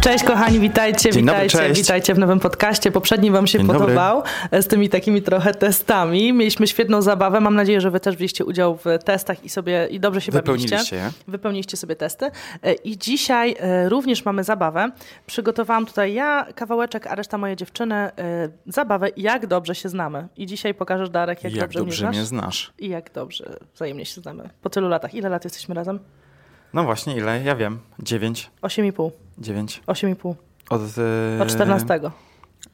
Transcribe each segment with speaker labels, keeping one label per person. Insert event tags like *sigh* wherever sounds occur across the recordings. Speaker 1: Cześć kochani, witajcie,
Speaker 2: Dzień dobry,
Speaker 1: witajcie,
Speaker 2: cześć.
Speaker 1: witajcie w nowym podcaście. Poprzedni wam się
Speaker 2: Dzień dobry.
Speaker 1: podobał e, z tymi takimi trochę testami. Mieliśmy świetną zabawę. Mam nadzieję, że wy też wzięliście udział w testach i sobie i dobrze się
Speaker 2: Wypełniliście
Speaker 1: bawiliście.
Speaker 2: je.
Speaker 1: Wypełniliście sobie testy. E, I dzisiaj e, również mamy zabawę. Przygotowałam tutaj ja kawałeczek, a reszta moje dziewczyny e, zabawę jak dobrze się znamy. I dzisiaj pokażesz Darek, jak,
Speaker 2: Jak
Speaker 1: dobrze,
Speaker 2: dobrze
Speaker 1: mnie
Speaker 2: mnie
Speaker 1: znasz.
Speaker 2: znasz.
Speaker 1: I jak dobrze wzajemnie się znamy. Po tylu latach. Ile lat jesteśmy razem?
Speaker 2: No właśnie, ile? Ja wiem. Dziewięć.
Speaker 1: 8,5.
Speaker 2: Dziewięć.
Speaker 1: 8,5.
Speaker 2: Od, e,
Speaker 1: Od 14.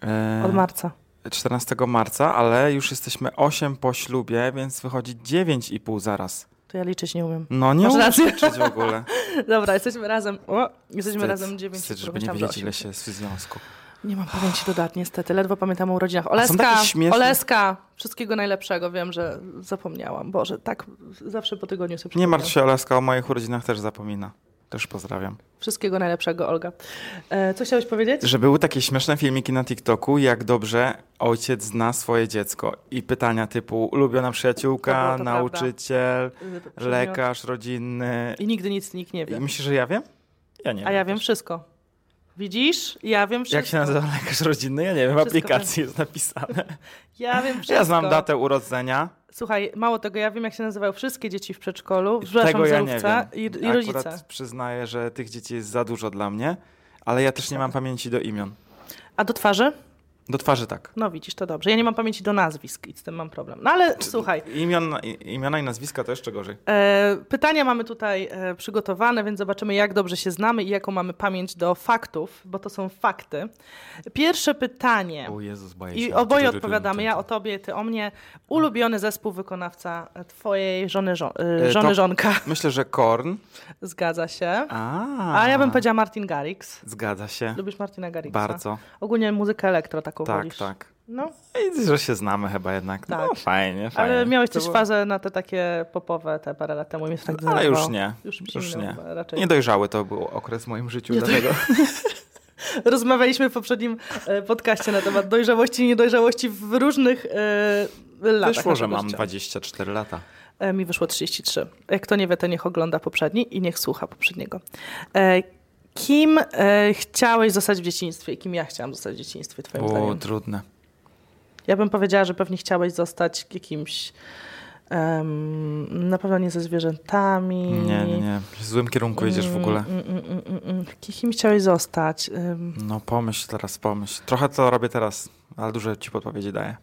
Speaker 2: e,
Speaker 1: Od marca.
Speaker 2: 14 marca, ale już jesteśmy 8 po ślubie, więc wychodzi 9,5 zaraz.
Speaker 1: To ja liczyć nie umiem.
Speaker 2: No nie
Speaker 1: Masz
Speaker 2: umiesz
Speaker 1: rację.
Speaker 2: liczyć w ogóle.
Speaker 1: *laughs* Dobra, *laughs* jesteśmy razem. O, jesteśmy
Speaker 2: Wstyd.
Speaker 1: razem dziewięć.
Speaker 2: Wstyd, żeby nie
Speaker 1: pamiętam
Speaker 2: wiedzieć,
Speaker 1: do
Speaker 2: ile
Speaker 1: osiem.
Speaker 2: się jest w związku.
Speaker 1: Nie mam pamięci do dat, niestety. Ledwo pamiętam o urodzinach.
Speaker 2: A są takie
Speaker 1: Oleska,
Speaker 2: śmieszne-
Speaker 1: Oleska. Wszystkiego najlepszego. Wiem, że zapomniałam. Boże, tak zawsze po tygodniu sobie
Speaker 2: Nie
Speaker 1: przypominam.
Speaker 2: martw się, Oleska o moich urodzinach też zapomina. Też pozdrawiam.
Speaker 1: Wszystkiego najlepszego, Olga. E, co chciałeś powiedzieć?
Speaker 2: Że były takie śmieszne filmiki na TikToku, jak dobrze ojciec zna swoje dziecko. I pytania typu ulubiona
Speaker 1: To było,
Speaker 2: przyjaciółka,
Speaker 1: to prawda.
Speaker 2: nauczyciel,
Speaker 1: Y, przedmiot.
Speaker 2: lekarz rodzinny.
Speaker 1: I nigdy nic nikt nie
Speaker 2: I
Speaker 1: wie.
Speaker 2: myślisz, że ja wiem? Ja nie
Speaker 1: A
Speaker 2: wiem.
Speaker 1: ja wiem wszystko. Widzisz? Ja wiem wszystko.
Speaker 2: Jak się nazywa lekarz rodzinny? Ja nie wiem, w
Speaker 1: Wszystko
Speaker 2: aplikacji
Speaker 1: *laughs*
Speaker 2: jest napisane.
Speaker 1: Ja wiem wszystko.
Speaker 2: *laughs* Ja znam datę urodzenia.
Speaker 1: Słuchaj, mało tego, ja wiem, jak się nazywają wszystkie dzieci w przedszkolu, przepraszam,
Speaker 2: Tego
Speaker 1: w
Speaker 2: ja nie
Speaker 1: zerówce
Speaker 2: wiem.
Speaker 1: i, i
Speaker 2: Akurat
Speaker 1: rodzice.
Speaker 2: przyznaję, że tych dzieci jest za dużo dla mnie, ale ja też nie mam pamięci do imion.
Speaker 1: A do twarzy?
Speaker 2: Do twarzy tak.
Speaker 1: No widzisz, to dobrze. Ja nie mam pamięci do nazwisk i z tym mam problem. No ale słuchaj,
Speaker 2: Imion, i- imiona i nazwiska to jeszcze gorzej.
Speaker 1: e, pytania mamy tutaj e, przygotowane, więc zobaczymy, jak dobrze się znamy i jaką mamy pamięć do faktów, bo to są fakty. Pierwsze pytanie.
Speaker 2: O Jezus, boję się.
Speaker 1: I oboje odpowiadamy, ja o tobie, ty o mnie. Ulubiony zespół wykonawca twojej żony, żo- e,
Speaker 2: E,
Speaker 1: żony
Speaker 2: to-
Speaker 1: żonka. *laughs*
Speaker 2: Myślę, że Korn.
Speaker 1: Zgadza się.
Speaker 2: A,
Speaker 1: A ja bym powiedziała Martin Garrix.
Speaker 2: Zgadza się.
Speaker 1: Lubisz Martina Garrixa?
Speaker 2: Bardzo.
Speaker 1: Ogólnie muzykę elektro taką
Speaker 2: Tak,
Speaker 1: wolisz.
Speaker 2: tak.
Speaker 1: No,
Speaker 2: I że się znamy chyba jednak. No
Speaker 1: Tak.
Speaker 2: fajnie, fajnie.
Speaker 1: ale miałeś
Speaker 2: To
Speaker 1: też
Speaker 2: było-
Speaker 1: fazę na te takie popowe te parę lat temu. i Mnie to tak
Speaker 2: Ale już
Speaker 1: denerwowało.
Speaker 2: nie.
Speaker 1: Już mi się
Speaker 2: Już
Speaker 1: minął,
Speaker 2: nie.
Speaker 1: bo raczej.
Speaker 2: Niedojrzały to był okres w moim życiu, dlatego
Speaker 1: Rozmawialiśmy w poprzednim e, podcaście na temat dojrzałości i niedojrzałości w różnych e, latach.
Speaker 2: wyszło, że
Speaker 1: naszego
Speaker 2: mam
Speaker 1: życia.
Speaker 2: 24 lata.
Speaker 1: E, mi wyszło 33. Jak kto nie wie, to niech ogląda poprzedni i niech słucha poprzedniego. E, kim e, chciałeś zostać w dzieciństwie i kim ja chciałam zostać w dzieciństwie, twoim
Speaker 2: Było
Speaker 1: zdaniem?
Speaker 2: trudne.
Speaker 1: Ja bym powiedziała, że pewnie chciałeś zostać jakimś... em, na pewno nie ze zwierzętami.
Speaker 2: Nie, nie, nie. W złym kierunku jedziesz w ogóle.
Speaker 1: Mm, mm, mm, mm, mm. Kim chciałeś zostać? Ym,
Speaker 2: No pomyśl teraz, pomyśl. Trochę to robię teraz, ale dużo ci podpowiedzi daję.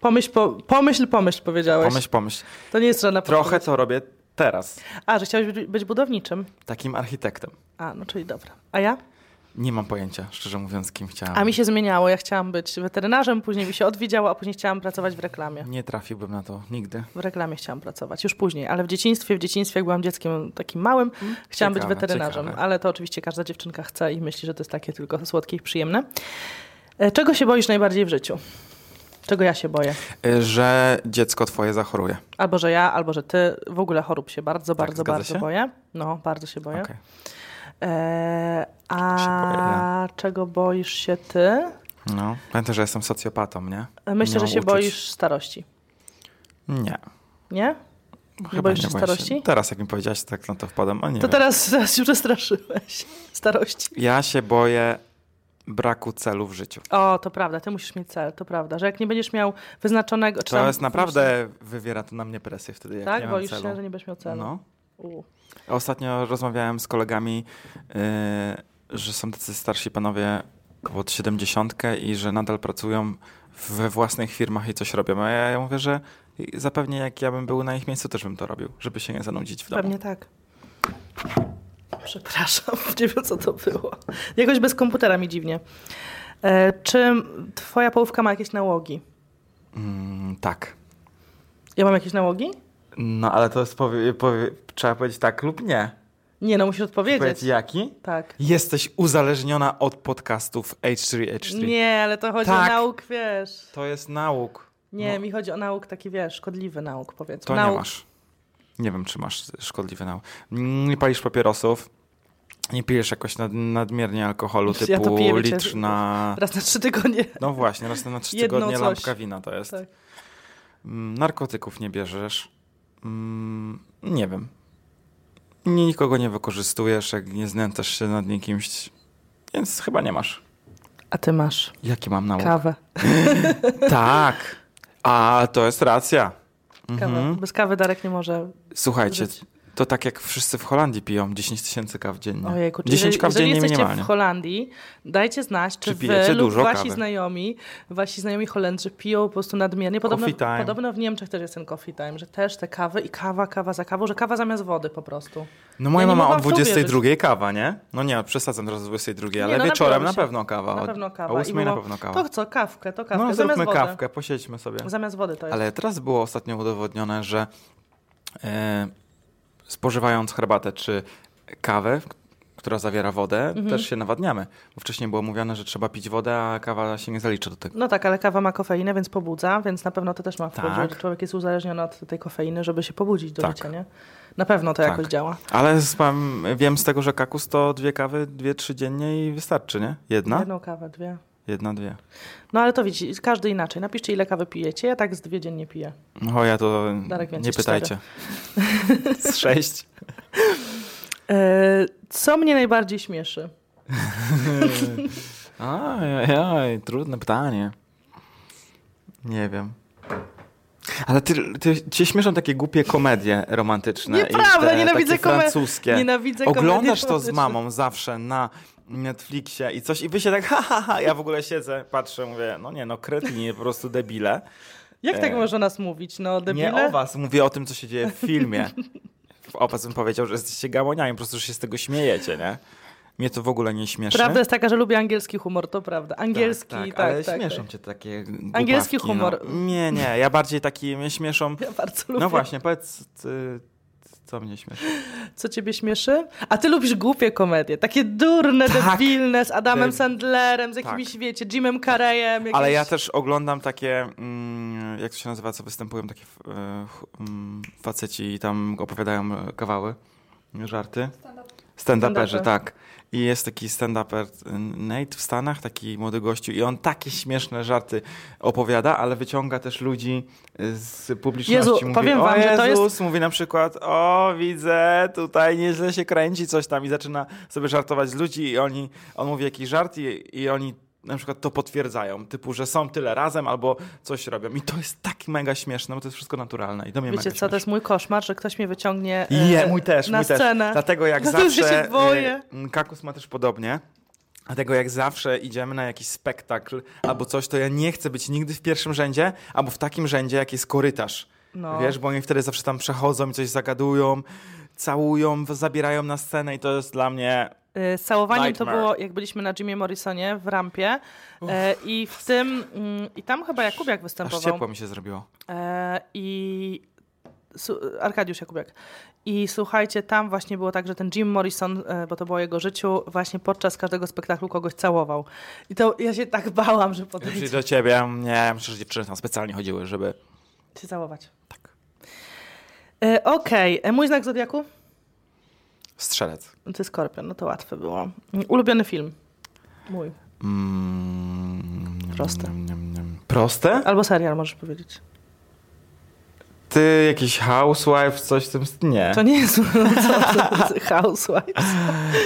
Speaker 1: Pomyśl, po, pomyśl, pomyśl powiedziałeś.
Speaker 2: Pomyśl, pomyśl.
Speaker 1: To nie jest żadna
Speaker 2: Trochę
Speaker 1: podpowiedź.
Speaker 2: to robię teraz.
Speaker 1: A, że chciałeś być- być budowniczym?
Speaker 2: Takim architektem.
Speaker 1: A, no czyli dobra. A ja?
Speaker 2: Nie mam pojęcia, szczerze mówiąc, kim chciałem.
Speaker 1: A mi się zmieniało. Ja chciałam być weterynarzem, później mi się odwiedziało, a później chciałam pracować w reklamie.
Speaker 2: Nie trafiłbym na to nigdy.
Speaker 1: W reklamie chciałam pracować, już później, ale w dzieciństwie, w dzieciństwie, jak byłam dzieckiem takim małym, chciałam
Speaker 2: Mhm. ciekawe,
Speaker 1: być weterynarzem,
Speaker 2: ciekawe.
Speaker 1: ale to oczywiście każda dziewczynka chce i myśli, że to jest takie tylko słodkie i przyjemne. E, Czego się boisz najbardziej w życiu? Czego ja się boję?
Speaker 2: Y, Że dziecko twoje zachoruje.
Speaker 1: Albo że ja, albo że ty. W ogóle chorób się bardzo, bardzo,
Speaker 2: Tak, zgadza
Speaker 1: bardzo
Speaker 2: się?
Speaker 1: boję. No, bardzo się boję.
Speaker 2: Okej.
Speaker 1: Eee,
Speaker 2: Się boję,
Speaker 1: a
Speaker 2: ja.
Speaker 1: czego boisz się ty?
Speaker 2: No. Pamiętaj, że jestem socjopatą, nie?
Speaker 1: Myślę,
Speaker 2: Nie
Speaker 1: że
Speaker 2: mam
Speaker 1: się
Speaker 2: uczuć.
Speaker 1: boisz starości,
Speaker 2: Nie.
Speaker 1: nie?
Speaker 2: Chyba
Speaker 1: boisz się
Speaker 2: boję
Speaker 1: starości?
Speaker 2: Teraz, jak mi powiedziałaś, tak na to wpadam. O, nie
Speaker 1: To
Speaker 2: wiem.
Speaker 1: teraz, teraz się przestraszyłeś. *laughs* Starości.
Speaker 2: Ja się boję braku celu w życiu.
Speaker 1: O, to prawda, ty musisz mieć cel, to prawda, że jak nie będziesz miał wyznaczonego... czy
Speaker 2: To
Speaker 1: tam-
Speaker 2: jest naprawdę, wywiera to na mnie presję wtedy, jak
Speaker 1: Tak?
Speaker 2: nie mam
Speaker 1: Boisz
Speaker 2: celu.
Speaker 1: się, że nie będziesz miał celu.
Speaker 2: No.
Speaker 1: U.
Speaker 2: Ostatnio rozmawiałem z kolegami, yy, że są tacy starsi panowie około 70 i że nadal pracują we własnych firmach i coś robią. A ja, ja mówię, że zapewnie jak ja bym był na ich miejscu, też bym to robił, żeby się nie zanudzić w domu.
Speaker 1: Pewnie tak. Przepraszam, *laughs* nie wiem co to było. Jakoś bez komputera mi dziwnie. E, czy twoja połówka ma jakieś nałogi?
Speaker 2: Mm, tak.
Speaker 1: Ja mam jakieś nałogi?
Speaker 2: No ale to jest powie, powie, trzeba powiedzieć tak lub nie.
Speaker 1: Nie, no musisz
Speaker 2: Powiedz
Speaker 1: odpowiedzieć.
Speaker 2: jaki?
Speaker 1: Tak.
Speaker 2: Jesteś uzależniona od podcastów H3H3.
Speaker 1: Nie, ale to chodzi
Speaker 2: Tak.
Speaker 1: o nauk, wiesz.
Speaker 2: To jest nauk.
Speaker 1: Nie,
Speaker 2: No.
Speaker 1: mi chodzi o nauk taki, wiesz, szkodliwy nauk, powiedzmy.
Speaker 2: To
Speaker 1: nauk.
Speaker 2: nie masz. Nie wiem, czy masz szkodliwy nauk. Mm, Nie palisz papierosów, nie pijesz jakoś nad, nadmiernie alkoholu,
Speaker 1: Ja to
Speaker 2: typu
Speaker 1: piję, wiecie,
Speaker 2: litr na...
Speaker 1: Raz na trzy tygodnie.
Speaker 2: No właśnie, raz na trzy
Speaker 1: Jedno
Speaker 2: tygodnie
Speaker 1: coś.
Speaker 2: lampka wina to jest.
Speaker 1: Tak.
Speaker 2: Mm, Narkotyków nie bierzesz. Mm, Nie wiem. nie- nikogo nie wykorzystujesz, jak nie znęcasz się nad nikimś, więc chyba nie masz.
Speaker 1: A ty masz
Speaker 2: Jaki mam nałóg?
Speaker 1: kawę.
Speaker 2: *laughs* Tak! A, to jest racja. Mhm.
Speaker 1: Kawę. Bez kawy Darek nie może.
Speaker 2: Słuchajcie,
Speaker 1: Żyć.
Speaker 2: to tak jak wszyscy w Holandii piją 10 tysięcy kaw dziennie.
Speaker 1: Ojejku, czyli
Speaker 2: 10
Speaker 1: jeżeli,
Speaker 2: No. kaw
Speaker 1: jeżeli
Speaker 2: dziennie
Speaker 1: jesteście
Speaker 2: minimalnie.
Speaker 1: w Holandii, dajcie znać, czy,
Speaker 2: Czy
Speaker 1: wy
Speaker 2: pijecie
Speaker 1: lub
Speaker 2: dużo
Speaker 1: wasi
Speaker 2: kawy?
Speaker 1: znajomi, wasi znajomi Holendrzy piją po prostu nadmiernie. Podobno,
Speaker 2: Coffee time.
Speaker 1: podobno w Niemczech też jest ten coffee time, że też te kawy i kawa, kawa za kawą, że kawa zamiast wody po prostu.
Speaker 2: No moja
Speaker 1: Ja nie
Speaker 2: mama o
Speaker 1: mogłam w to uwierzyć.
Speaker 2: 22 kawa, nie? No nie, przesadzam teraz do 22, ale
Speaker 1: no, na
Speaker 2: wieczorem
Speaker 1: pewno
Speaker 2: na
Speaker 1: się-
Speaker 2: pewno kawa.
Speaker 1: na
Speaker 2: o-
Speaker 1: pewno kawa.
Speaker 2: O
Speaker 1: I
Speaker 2: 8 na
Speaker 1: było,
Speaker 2: pewno kawa.
Speaker 1: To co, kawkę, to kawkę.
Speaker 2: No
Speaker 1: zamiast
Speaker 2: zróbmy
Speaker 1: wody.
Speaker 2: kawkę, posiedźmy sobie.
Speaker 1: Zamiast wody to jest.
Speaker 2: Ale teraz było ostatnio udowodnione, że e, spożywając herbatę czy kawę, k- która zawiera wodę, też się nawadniamy. Bo wcześniej było mówione, że trzeba pić wodę, a kawa się nie zalicza do tego.
Speaker 1: No tak, ale kawa ma kofeinę, więc pobudza, więc na pewno to też ma wpływ,
Speaker 2: Tak.
Speaker 1: że człowiek jest uzależniony od tej kofeiny, żeby się pobudzić do
Speaker 2: Tak.
Speaker 1: życia, nie? Na pewno to
Speaker 2: Tak.
Speaker 1: jakoś działa.
Speaker 2: Ale z, mam, wiem z tego, że kakus to dwie kawy, dwie, trzy dziennie i wystarczy, nie? Jedna?
Speaker 1: Jedną kawę, dwie.
Speaker 2: Jedna, dwie.
Speaker 1: No ale to widzicie, każdy inaczej. Napiszcie, ile kawy pijecie. Ja tak z dwie dziennie piję.
Speaker 2: O, No ja to
Speaker 1: Darek więcej,
Speaker 2: nie pytajcie. Z sześć.
Speaker 1: E, co mnie najbardziej śmieszy?
Speaker 2: Aj, aj, aj, trudne pytanie. Nie wiem. Ale ty, ty, cię śmieszą takie głupie komedie romantyczne. i
Speaker 1: Nieprawda,
Speaker 2: te,
Speaker 1: nienawidzę
Speaker 2: takie
Speaker 1: kome-
Speaker 2: francuskie.
Speaker 1: Nienawidzę
Speaker 2: Oglądasz
Speaker 1: komedii
Speaker 2: to z mamą zawsze na Netflixie i coś i wy się tak ha, ha, ha. Ja w ogóle siedzę, patrzę, mówię, no nie, no kretyni, po prostu debile.
Speaker 1: Jak tak
Speaker 2: E,
Speaker 1: można nas mówić? No, debile?
Speaker 2: Nie o was, mówię o tym, co się dzieje w filmie. O was bym powiedział, że jesteście gamoniami, po prostu że się z tego śmiejecie, nie? Mnie to w ogóle nie śmieszy.
Speaker 1: Prawda jest taka, że lubię angielski humor, to prawda. Angielski,
Speaker 2: tak,
Speaker 1: tak,
Speaker 2: tak,
Speaker 1: tak.
Speaker 2: ale
Speaker 1: tak,
Speaker 2: śmieszą cię takie głupawki,
Speaker 1: Angielski humor.
Speaker 2: No. Nie, nie, ja bardziej taki mnie śmieszą.
Speaker 1: Ja bardzo lubię.
Speaker 2: No właśnie, powiedz, ty, co mnie śmieszy.
Speaker 1: Co ciebie śmieszy? A ty lubisz głupie komedie, takie durne,
Speaker 2: Tak.
Speaker 1: debilne, z Adamem
Speaker 2: Debil-
Speaker 1: Sandlerem, z jakimiś, wiecie, Jimem Carreyem. Jakimś...
Speaker 2: Ale ja też oglądam takie, mm, jak to się nazywa, co występują takie f- e, ch- mm, faceci i tam opowiadają e, kawały, żarty. Stand-uperzy,
Speaker 1: Stand-uperzy.
Speaker 2: tak. I jest taki stand-uper e, Nate w Stanach, taki młody gościu i on takie śmieszne żarty opowiada, ale wyciąga też ludzi e, z publiczności.
Speaker 1: Jezu,
Speaker 2: mówi,
Speaker 1: powiem
Speaker 2: o
Speaker 1: wam,
Speaker 2: Jezus,
Speaker 1: że to
Speaker 2: mówi na przykład, o widzę, tutaj nieźle się kręci coś tam i zaczyna sobie żartować z ludzi i oni, on mówi jakiś żart i, i oni na przykład to potwierdzają, typu, że są tyle razem albo coś robią. I to jest tak mega śmieszne, bo to jest wszystko naturalne i to mnie
Speaker 1: Wiecie
Speaker 2: mega
Speaker 1: co, to jest mój koszmar, że ktoś mnie wyciągnie e,
Speaker 2: je, mój też,
Speaker 1: na
Speaker 2: mój
Speaker 1: scenę.
Speaker 2: też. Dlatego jak
Speaker 1: Dlatego się
Speaker 2: zawsze...
Speaker 1: się boję.
Speaker 2: y, Kakus ma też podobnie. Dlatego jak zawsze idziemy na jakiś spektakl albo coś, to ja nie chcę być nigdy w pierwszym rzędzie albo w takim rzędzie, jak jest korytarz.
Speaker 1: No.
Speaker 2: Wiesz, bo oni wtedy zawsze tam przechodzą i coś zagadują, całują, w- zabierają na scenę i to jest dla mnie...
Speaker 1: Y, Z całowaniem to
Speaker 2: Nightmare.
Speaker 1: było, jak byliśmy na Jimie Morrisonie w rampie e, i w tym, mm, i tam chyba Jakubiak
Speaker 2: Aż
Speaker 1: występował
Speaker 2: ciepło mi się zrobiło.
Speaker 1: e, i su, Arkadiusz Jakubiak. I słuchajcie, tam właśnie było tak, że ten Jim Morrison, e, bo to było o jego życiu, właśnie podczas każdego spektaklu kogoś całował. I to ja się tak bałam, że potem
Speaker 2: Przyjdę do ciebie, nie, myślę, że dziewczyny tam specjalnie chodziły, żeby...
Speaker 1: się całować.
Speaker 2: Tak.
Speaker 1: E, Okej, e, mój znak zodiaku?
Speaker 2: Strzelec.
Speaker 1: To jest skorpion, no to łatwe było. Ulubiony film? Mój.
Speaker 2: Mm,
Speaker 1: Proste.
Speaker 2: niam, niam. Proste?
Speaker 1: Albo serial możesz powiedzieć.
Speaker 2: Ty jakiś housewife, coś w tym. st- Nie.
Speaker 1: To nie jest *laughs* no co, to jest Housewives.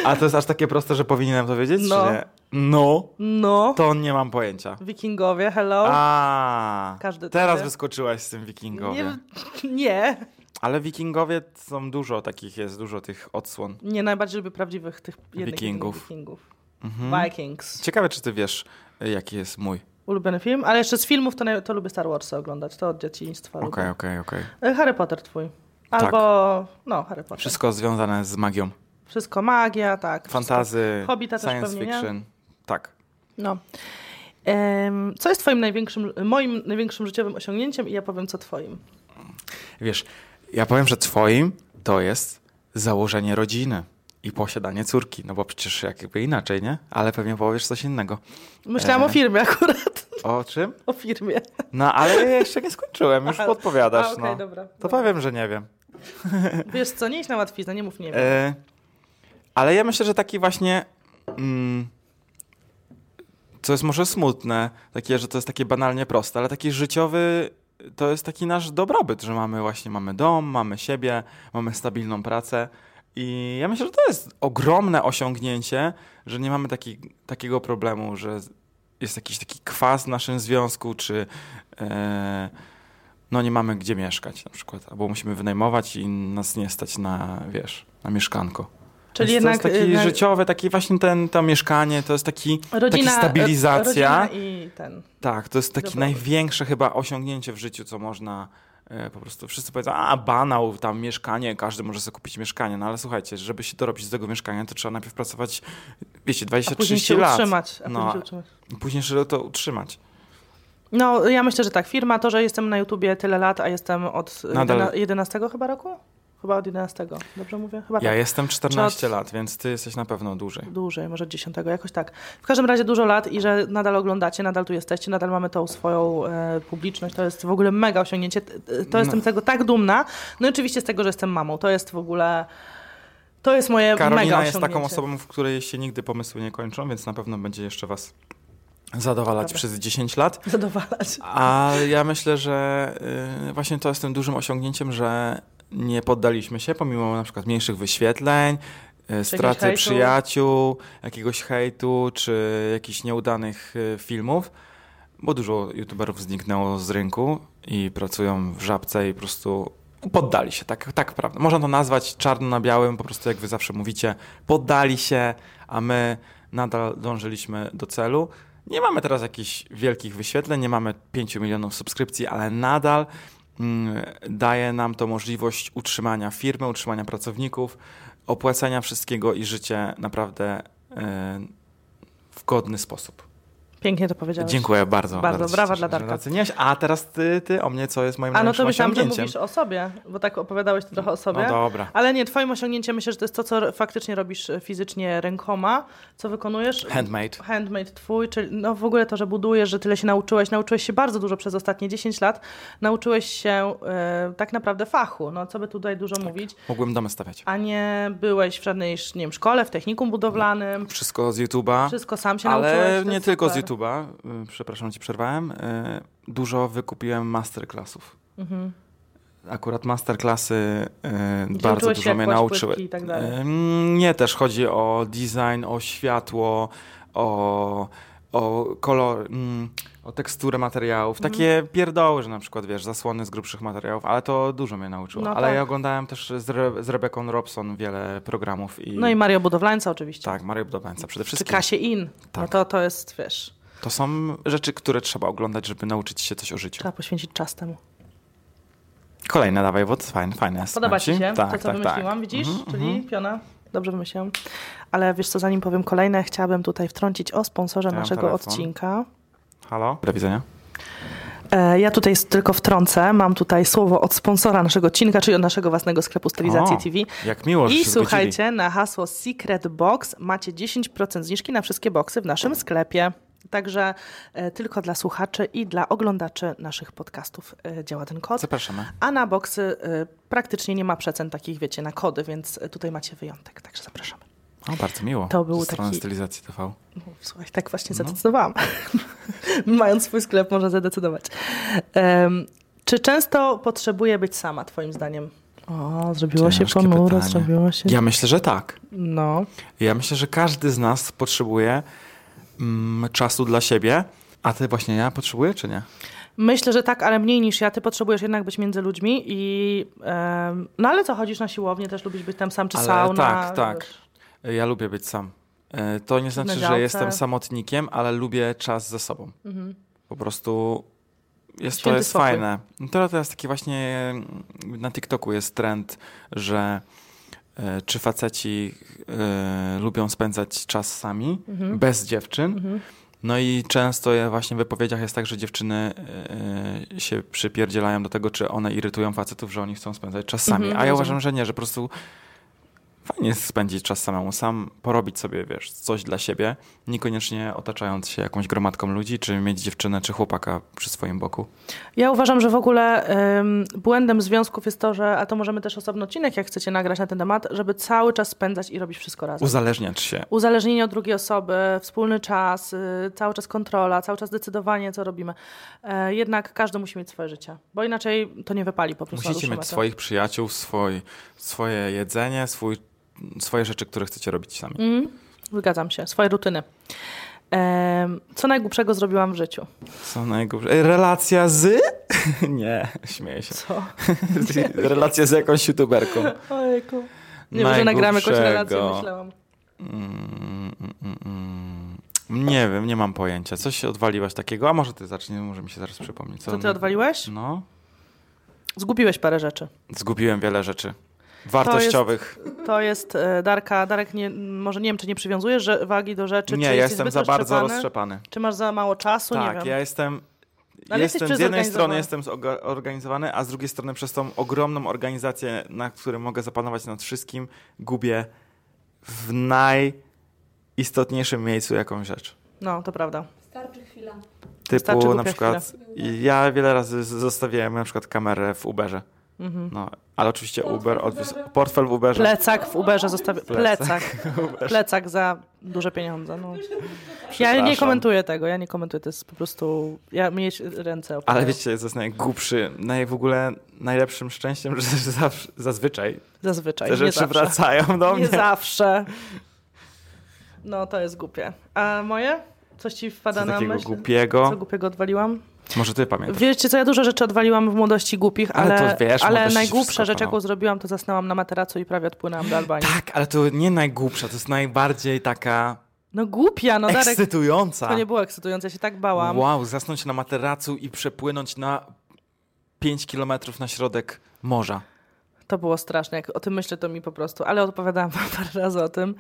Speaker 2: A to jest aż takie proste, że powinienem to wiedzieć?
Speaker 1: No.
Speaker 2: Czy nie? No,
Speaker 1: No,
Speaker 2: to nie mam pojęcia.
Speaker 1: wikingowie, hello.
Speaker 2: A,
Speaker 1: No. Każdy
Speaker 2: teraz
Speaker 1: takie.
Speaker 2: wyskoczyłaś z tym
Speaker 1: nie,
Speaker 2: wikingowie.
Speaker 1: nie,
Speaker 2: Ale wikingowie są dużo takich, jest dużo tych odsłon.
Speaker 1: nie, najbardziej lubię prawdziwych tych jednych
Speaker 2: Wikingów.
Speaker 1: jedynych wikingów.
Speaker 2: Mhm.
Speaker 1: Vikings.
Speaker 2: Ciekawe, czy ty wiesz, y, jaki jest mój.
Speaker 1: Ulubiony film, ale jeszcze z filmów to, naj- to lubię Star Warsy oglądać, to od dzieciństwa
Speaker 2: Okej,
Speaker 1: lubię.
Speaker 2: okej, okej. Tak.
Speaker 1: E, Harry Potter twój. Albo, no, Harry Potter. Wszystko,
Speaker 2: Wszystko związane z magią.
Speaker 1: magia, tak. wszystko.
Speaker 2: Fantazy,
Speaker 1: Hobbita też
Speaker 2: science
Speaker 1: pewnie, nie?
Speaker 2: fiction. Tak.
Speaker 1: No. Em, co jest twoim największym, moim największym życiowym osiągnięciem i ja powiem co twoim.
Speaker 2: Wiesz, ja powiem, że twoim to jest założenie rodziny i posiadanie córki, no bo przecież jakby inaczej, nie? Ale pewnie powiesz coś innego.
Speaker 1: Myślałam
Speaker 2: E.
Speaker 1: o firmie *laughs* akurat,
Speaker 2: O czym?
Speaker 1: o firmie.
Speaker 2: No, ale ja jeszcze nie skończyłem, już
Speaker 1: Aha.
Speaker 2: podpowiadasz,
Speaker 1: A, okej,
Speaker 2: no.
Speaker 1: dobra.
Speaker 2: To powiem, że nie wiem.
Speaker 1: Wiesz co, nie idź na łatwiznę, nie mów nie wiem.
Speaker 2: E, ale ja myślę, że taki właśnie, mm, co jest może smutne, takie, że to jest takie banalnie proste, ale taki życiowy, to jest taki nasz dobrobyt, że mamy właśnie, mamy dom, mamy siebie, mamy stabilną pracę I ja myślę, że to jest ogromne osiągnięcie, że nie mamy taki, takiego problemu, że jest jakiś taki kwas w naszym związku, czy e, no nie mamy gdzie mieszkać na przykład, albo musimy wynajmować i nas nie stać na, wiesz, na mieszkanko.
Speaker 1: Czyli
Speaker 2: Więc
Speaker 1: jednak y, e,
Speaker 2: to jest taki
Speaker 1: jednak
Speaker 2: życiowy, taki właśnie ten, to mieszkanie, to jest taki,
Speaker 1: rodzina, e,
Speaker 2: taki stabilizacja.
Speaker 1: Rodzina i ten.
Speaker 2: Tak, to jest takie
Speaker 1: Dobra.
Speaker 2: największe chyba osiągnięcie w życiu, co można e, po prostu wszyscy powiedzą, a banał, tam mieszkanie, każdy może sobie kupić mieszkanie, no ale słuchajcie, żeby się dorobić do tego mieszkania, to trzeba najpierw pracować, wiecie,
Speaker 1: A później się
Speaker 2: 20-30 lat.
Speaker 1: utrzymać. A później
Speaker 2: No,
Speaker 1: się utrzymać.
Speaker 2: I Później żeby to utrzymać.
Speaker 1: No, ja myślę, że tak. Firma, to, że jestem na YouTubie tyle lat, a jestem od
Speaker 2: Nadal.
Speaker 1: Nadal. 11 chyba roku? Chyba od 11. Dobrze mówię? Chyba
Speaker 2: Ja
Speaker 1: tak.
Speaker 2: jestem 14 lat, więc ty jesteś na pewno dłużej.
Speaker 1: Dłużej, może 10, jakoś tak. W każdym razie dużo lat i że nadal oglądacie, nadal tu jesteście, nadal mamy tą swoją e, publiczność. To jest w ogóle mega osiągnięcie. T- t- To jestem z tego tak dumna. No i oczywiście z tego, że jestem mamą. To jest w ogóle. To jest moje E, mega
Speaker 2: Karolina jest
Speaker 1: osiągnięcie.
Speaker 2: taką osobą, w której się nigdy pomysły nie kończą, więc na pewno będzie jeszcze was zadowalać
Speaker 1: Dobra.
Speaker 2: przez 10 lat.
Speaker 1: Zadowalać.
Speaker 2: A ja myślę, że y, właśnie to jest tym dużym osiągnięciem, że nie poddaliśmy się pomimo na przykład mniejszych wyświetleń, y, straty
Speaker 1: hejtu.
Speaker 2: przyjaciół, jakiegoś hejtu czy jakichś nieudanych y, filmów, bo dużo youtuberów zniknęło z rynku i pracują w żabce i po prostu poddali się, tak, tak prawda. Można to nazwać czarno na białym, po prostu jak wy zawsze mówicie, poddali się, a my nadal dążyliśmy do celu. Nie mamy teraz jakichś wielkich wyświetleń, nie mamy 5 milionów subskrypcji, ale nadal mm, daje nam to możliwość utrzymania firmy, utrzymania pracowników, opłacania wszystkiego i życie naprawdę e, w godny sposób.
Speaker 1: Pięknie to powiedziałeś.
Speaker 2: Dziękuję bardzo.
Speaker 1: Bardzo,
Speaker 2: się
Speaker 1: brawa
Speaker 2: cieszę,
Speaker 1: dla
Speaker 2: że
Speaker 1: Darka.
Speaker 2: doceniłaś. A teraz ty, ty o mnie, co jest moim
Speaker 1: A no
Speaker 2: największym
Speaker 1: to myślałam, że
Speaker 2: osiągnięciem.
Speaker 1: mówisz o sobie, bo tak opowiadałeś trochę o sobie.
Speaker 2: No dobra.
Speaker 1: Ale nie, twoim osiągnięciem myślę, że to jest to, co r- faktycznie robisz e, fizycznie rękoma, co wykonujesz.
Speaker 2: Handmade.
Speaker 1: Handmade twój, czyli no w ogóle to, że budujesz, że tyle się nauczyłeś, nauczyłeś się bardzo dużo przez ostatnie 10 lat, nauczyłeś się e, tak naprawdę fachu, no co by tutaj dużo
Speaker 2: Tak.
Speaker 1: mówić,
Speaker 2: Mogłem domy stawiać.
Speaker 1: a nie byłeś w żadnej nie wiem, szkole, w technikum budowlanym,
Speaker 2: Wszystko z YouTube'a.
Speaker 1: wszystko sam się nauczyłeś. to
Speaker 2: No. Ale
Speaker 1: jest
Speaker 2: nie tylko z
Speaker 1: super.
Speaker 2: YouTube'a, y, przepraszam, ci przerwałem. y, Dużo wykupiłem masterclassów.
Speaker 1: Mhm.
Speaker 2: Akurat masterclassy y,
Speaker 1: Gdzie
Speaker 2: bardzo
Speaker 1: uczyłeś
Speaker 2: dużo
Speaker 1: się,
Speaker 2: mnie
Speaker 1: jak kłaść
Speaker 2: nauczyły.
Speaker 1: płytki i tak dalej.
Speaker 2: Y, Nie też chodzi o design, o światło, o, o kolor, mm, o teksturę materiałów.
Speaker 1: Mhm.
Speaker 2: Takie pierdoły, że na przykład wiesz, zasłony z grubszych materiałów, ale to dużo mnie nauczyło.
Speaker 1: No
Speaker 2: ale
Speaker 1: tak.
Speaker 2: ja oglądałem też z, Re- z Rebeką Robson wiele programów i.
Speaker 1: No i Mario Budowlańca oczywiście.
Speaker 2: tak, Mario Budowlańca przede
Speaker 1: Czy
Speaker 2: wszystkim.
Speaker 1: Kasie In. No
Speaker 2: Tak.
Speaker 1: to, to jest, wiesz,
Speaker 2: To są rzeczy, które trzeba oglądać, żeby nauczyć się coś o życiu.
Speaker 1: trzeba poświęcić czas temu.
Speaker 2: Znaczy? Kolejne dawaj, bo to fajne, fajne jest.
Speaker 1: Podoba
Speaker 2: Marcin.
Speaker 1: ci się to, co wymyśliłam, widzisz?
Speaker 2: Tak, Mhm,
Speaker 1: Czyli piona. Dobrze wymyśliłam. Ale wiesz co, zanim powiem kolejne, chciałabym tutaj wtrącić o sponsorze
Speaker 2: Ja mam
Speaker 1: naszego
Speaker 2: telefon.
Speaker 1: odcinka.
Speaker 2: Halo? Do widzenia.
Speaker 1: E, Ja tutaj s- tylko wtrącę, mam tutaj słowo od sponsora naszego odcinka, czyli od naszego własnego sklepu Stylizacji
Speaker 2: O,
Speaker 1: TV.
Speaker 2: Jak miło, że
Speaker 1: I
Speaker 2: się
Speaker 1: słuchajcie, na hasło Secret Box macie 10% zniżki na wszystkie boksy w naszym sklepie. Także e, tylko dla słuchaczy i dla oglądaczy naszych podcastów e, działa ten kod.
Speaker 2: Zgodzili. Zapraszamy.
Speaker 1: A na boksy y, praktycznie nie ma przecen takich, wiecie, na kody, więc y, tutaj macie wyjątek, także zapraszamy.
Speaker 2: O, bardzo miło.
Speaker 1: To był
Speaker 2: Ze strony
Speaker 1: taki-
Speaker 2: stylizacji TV.
Speaker 1: No, Słuchaj, tak właśnie zadecydowałam. *laughs* Mając swój sklep, można zadecydować. Em, czy często potrzebuje być sama, twoim zdaniem? O, zrobiło się
Speaker 2: Ciężkie
Speaker 1: ponuro,
Speaker 2: pytanie.
Speaker 1: zrobiło się...
Speaker 2: Ja myślę, że tak.
Speaker 1: No,
Speaker 2: Ja myślę, że każdy z nas potrzebuje mm, czasu dla siebie. A ty właśnie ja potrzebuję, czy nie?
Speaker 1: Myślę, że tak, ale mniej niż ja. Ty potrzebujesz jednak być między ludźmi i... em, no ale co, chodzisz na siłownię, też lubisz być tam sam czy
Speaker 2: Ale
Speaker 1: sauna?
Speaker 2: tak, tak.
Speaker 1: wiesz.
Speaker 2: Ja lubię być sam. E, To nie znaczy, że
Speaker 1: działce. Mhm.
Speaker 2: jestem samotnikiem, ale lubię czas ze sobą. Po prostu jest, to
Speaker 1: Święty
Speaker 2: jest
Speaker 1: spokój.
Speaker 2: fajne. No Teraz, teraz taki właśnie mm, na TikToku jest trend, że e, czy faceci e, lubią spędzać czas sami,
Speaker 1: Mhm.
Speaker 2: bez dziewczyn. No i często ja właśnie w wypowiedziach jest tak, że dziewczyny e, się przypierdzielają do tego, czy one irytują facetów, że oni chcą spędzać czas sami.
Speaker 1: Mhm,
Speaker 2: A ja
Speaker 1: rozumiem.
Speaker 2: uważam, że nie, że po prostu fajnie jest spędzić czas samemu, sam porobić sobie, wiesz, coś dla siebie, niekoniecznie otaczając się jakąś gromadką ludzi, czy mieć dziewczynę, czy chłopaka przy swoim boku.
Speaker 1: Ja uważam, że w ogóle ym, błędem związków jest to, że, a to możemy też osobny odcinek, jak chcecie nagrać na ten temat, żeby cały czas spędzać i robić wszystko razem.
Speaker 2: Uzależniać się.
Speaker 1: Uzależnienie od drugiej osoby, wspólny czas, y, cały czas kontrola, cały czas decydowanie, co robimy. E, jednak każdy musi mieć swoje życie, bo inaczej to nie wypali po prostu.
Speaker 2: Musicie
Speaker 1: Ruszymy
Speaker 2: mieć
Speaker 1: to.
Speaker 2: swoich przyjaciół, swój, swoje jedzenie, swój swoje rzeczy, które chcecie robić sami.
Speaker 1: Mm, zgadzam się, swoje rutyny. Em, co najgłupszego zrobiłam w życiu?
Speaker 2: Co najgorsze? Ej, Relacja z? *laughs* Nie, śmieję się.
Speaker 1: Co?
Speaker 2: *laughs* Relacja z jakąś youtuberką.
Speaker 1: Ojejku. Nie wiem, że nagramy jakąś relację,
Speaker 2: Najgłupszego.
Speaker 1: myślałam.
Speaker 2: Mm, mm, mm, mm. Nie wiem, nie mam pojęcia. Coś się odwaliłaś takiego? A może ty zaczniesz, może mi się zaraz przypomnieć.
Speaker 1: Co ty odwaliłeś?
Speaker 2: No.
Speaker 1: Zgubiłeś parę rzeczy.
Speaker 2: Zgubiłem wiele rzeczy. Wartościowych.
Speaker 1: To jest e, Darka. Darek, nie, może nie wiem, czy nie przywiązujesz że, wagi do rzeczy. czy
Speaker 2: Nie, ja
Speaker 1: jesteś
Speaker 2: jestem
Speaker 1: zbyt
Speaker 2: za bardzo
Speaker 1: roztrzepany?
Speaker 2: roztrzepany.
Speaker 1: Czy masz za mało czasu? nie
Speaker 2: Tak,
Speaker 1: wiem. No,
Speaker 2: ja jestem.
Speaker 1: Ale jesteś
Speaker 2: jestem z jednej
Speaker 1: przezorganizowany.
Speaker 2: strony jestem zorganizowany, a z drugiej strony przez tą ogromną organizację, na której mogę zapanować nad wszystkim, gubię w najistotniejszym miejscu jakąś rzecz.
Speaker 1: No, to prawda.
Speaker 3: Starczy chwila.
Speaker 1: Wystarczy
Speaker 2: Typu na
Speaker 1: głupia
Speaker 2: przykład ja wiele razy z- zostawiałem na przykład kamerę w Uberze.
Speaker 1: Mhm.
Speaker 2: No, ale oczywiście Uber odwiózł portfel w Uberze.
Speaker 1: Plecak w Uberze zostawiam.
Speaker 2: Plecak.
Speaker 1: Plecak.
Speaker 2: *laughs*
Speaker 1: Plecak za duże pieniądze. No. Ja nie
Speaker 2: Przepraszam.
Speaker 1: komentuję tego, ja nie komentuję, to jest po prostu. Ja mieć ręce opadają.
Speaker 2: Ale wiecie, co jest najgłupszy, naj, w ogóle najlepszym szczęściem, że *laughs* zawsze, zazwyczaj
Speaker 1: Zazwyczaj.
Speaker 2: te
Speaker 1: nie
Speaker 2: rzeczy
Speaker 1: zawsze.
Speaker 2: wracają do
Speaker 1: Nie
Speaker 2: mnie.
Speaker 1: zawsze. No to jest głupie. A moje? Coś ci wpada
Speaker 2: Co
Speaker 1: na
Speaker 2: takiego
Speaker 1: myśl?
Speaker 2: głupiego.
Speaker 1: Co głupiego odwaliłam?
Speaker 2: Może ty pamiętasz.
Speaker 1: Wiecie co, ja dużo rzeczy odwaliłam w młodości głupich, ale,
Speaker 2: Ale
Speaker 1: ale,
Speaker 2: to wiesz, młodości się
Speaker 1: najgłupsza
Speaker 2: wszystko
Speaker 1: rzecz, jaką
Speaker 2: kochało.
Speaker 1: zrobiłam, to zasnęłam na materacu i prawie odpłynęłam do Albanii.
Speaker 2: Tak, ale to nie najgłupsza, to jest najbardziej taka
Speaker 1: No głupia, no Darek,
Speaker 2: ekscytująca.
Speaker 1: to nie było ekscytujące, ja się tak bałam.
Speaker 2: Wow, zasnąć na materacu i przepłynąć na 5 kilometrów na środek morza.
Speaker 1: To było straszne, jak o tym myślę, to mi po prostu, ale odpowiadałam wam *laughs* parę razy o tym.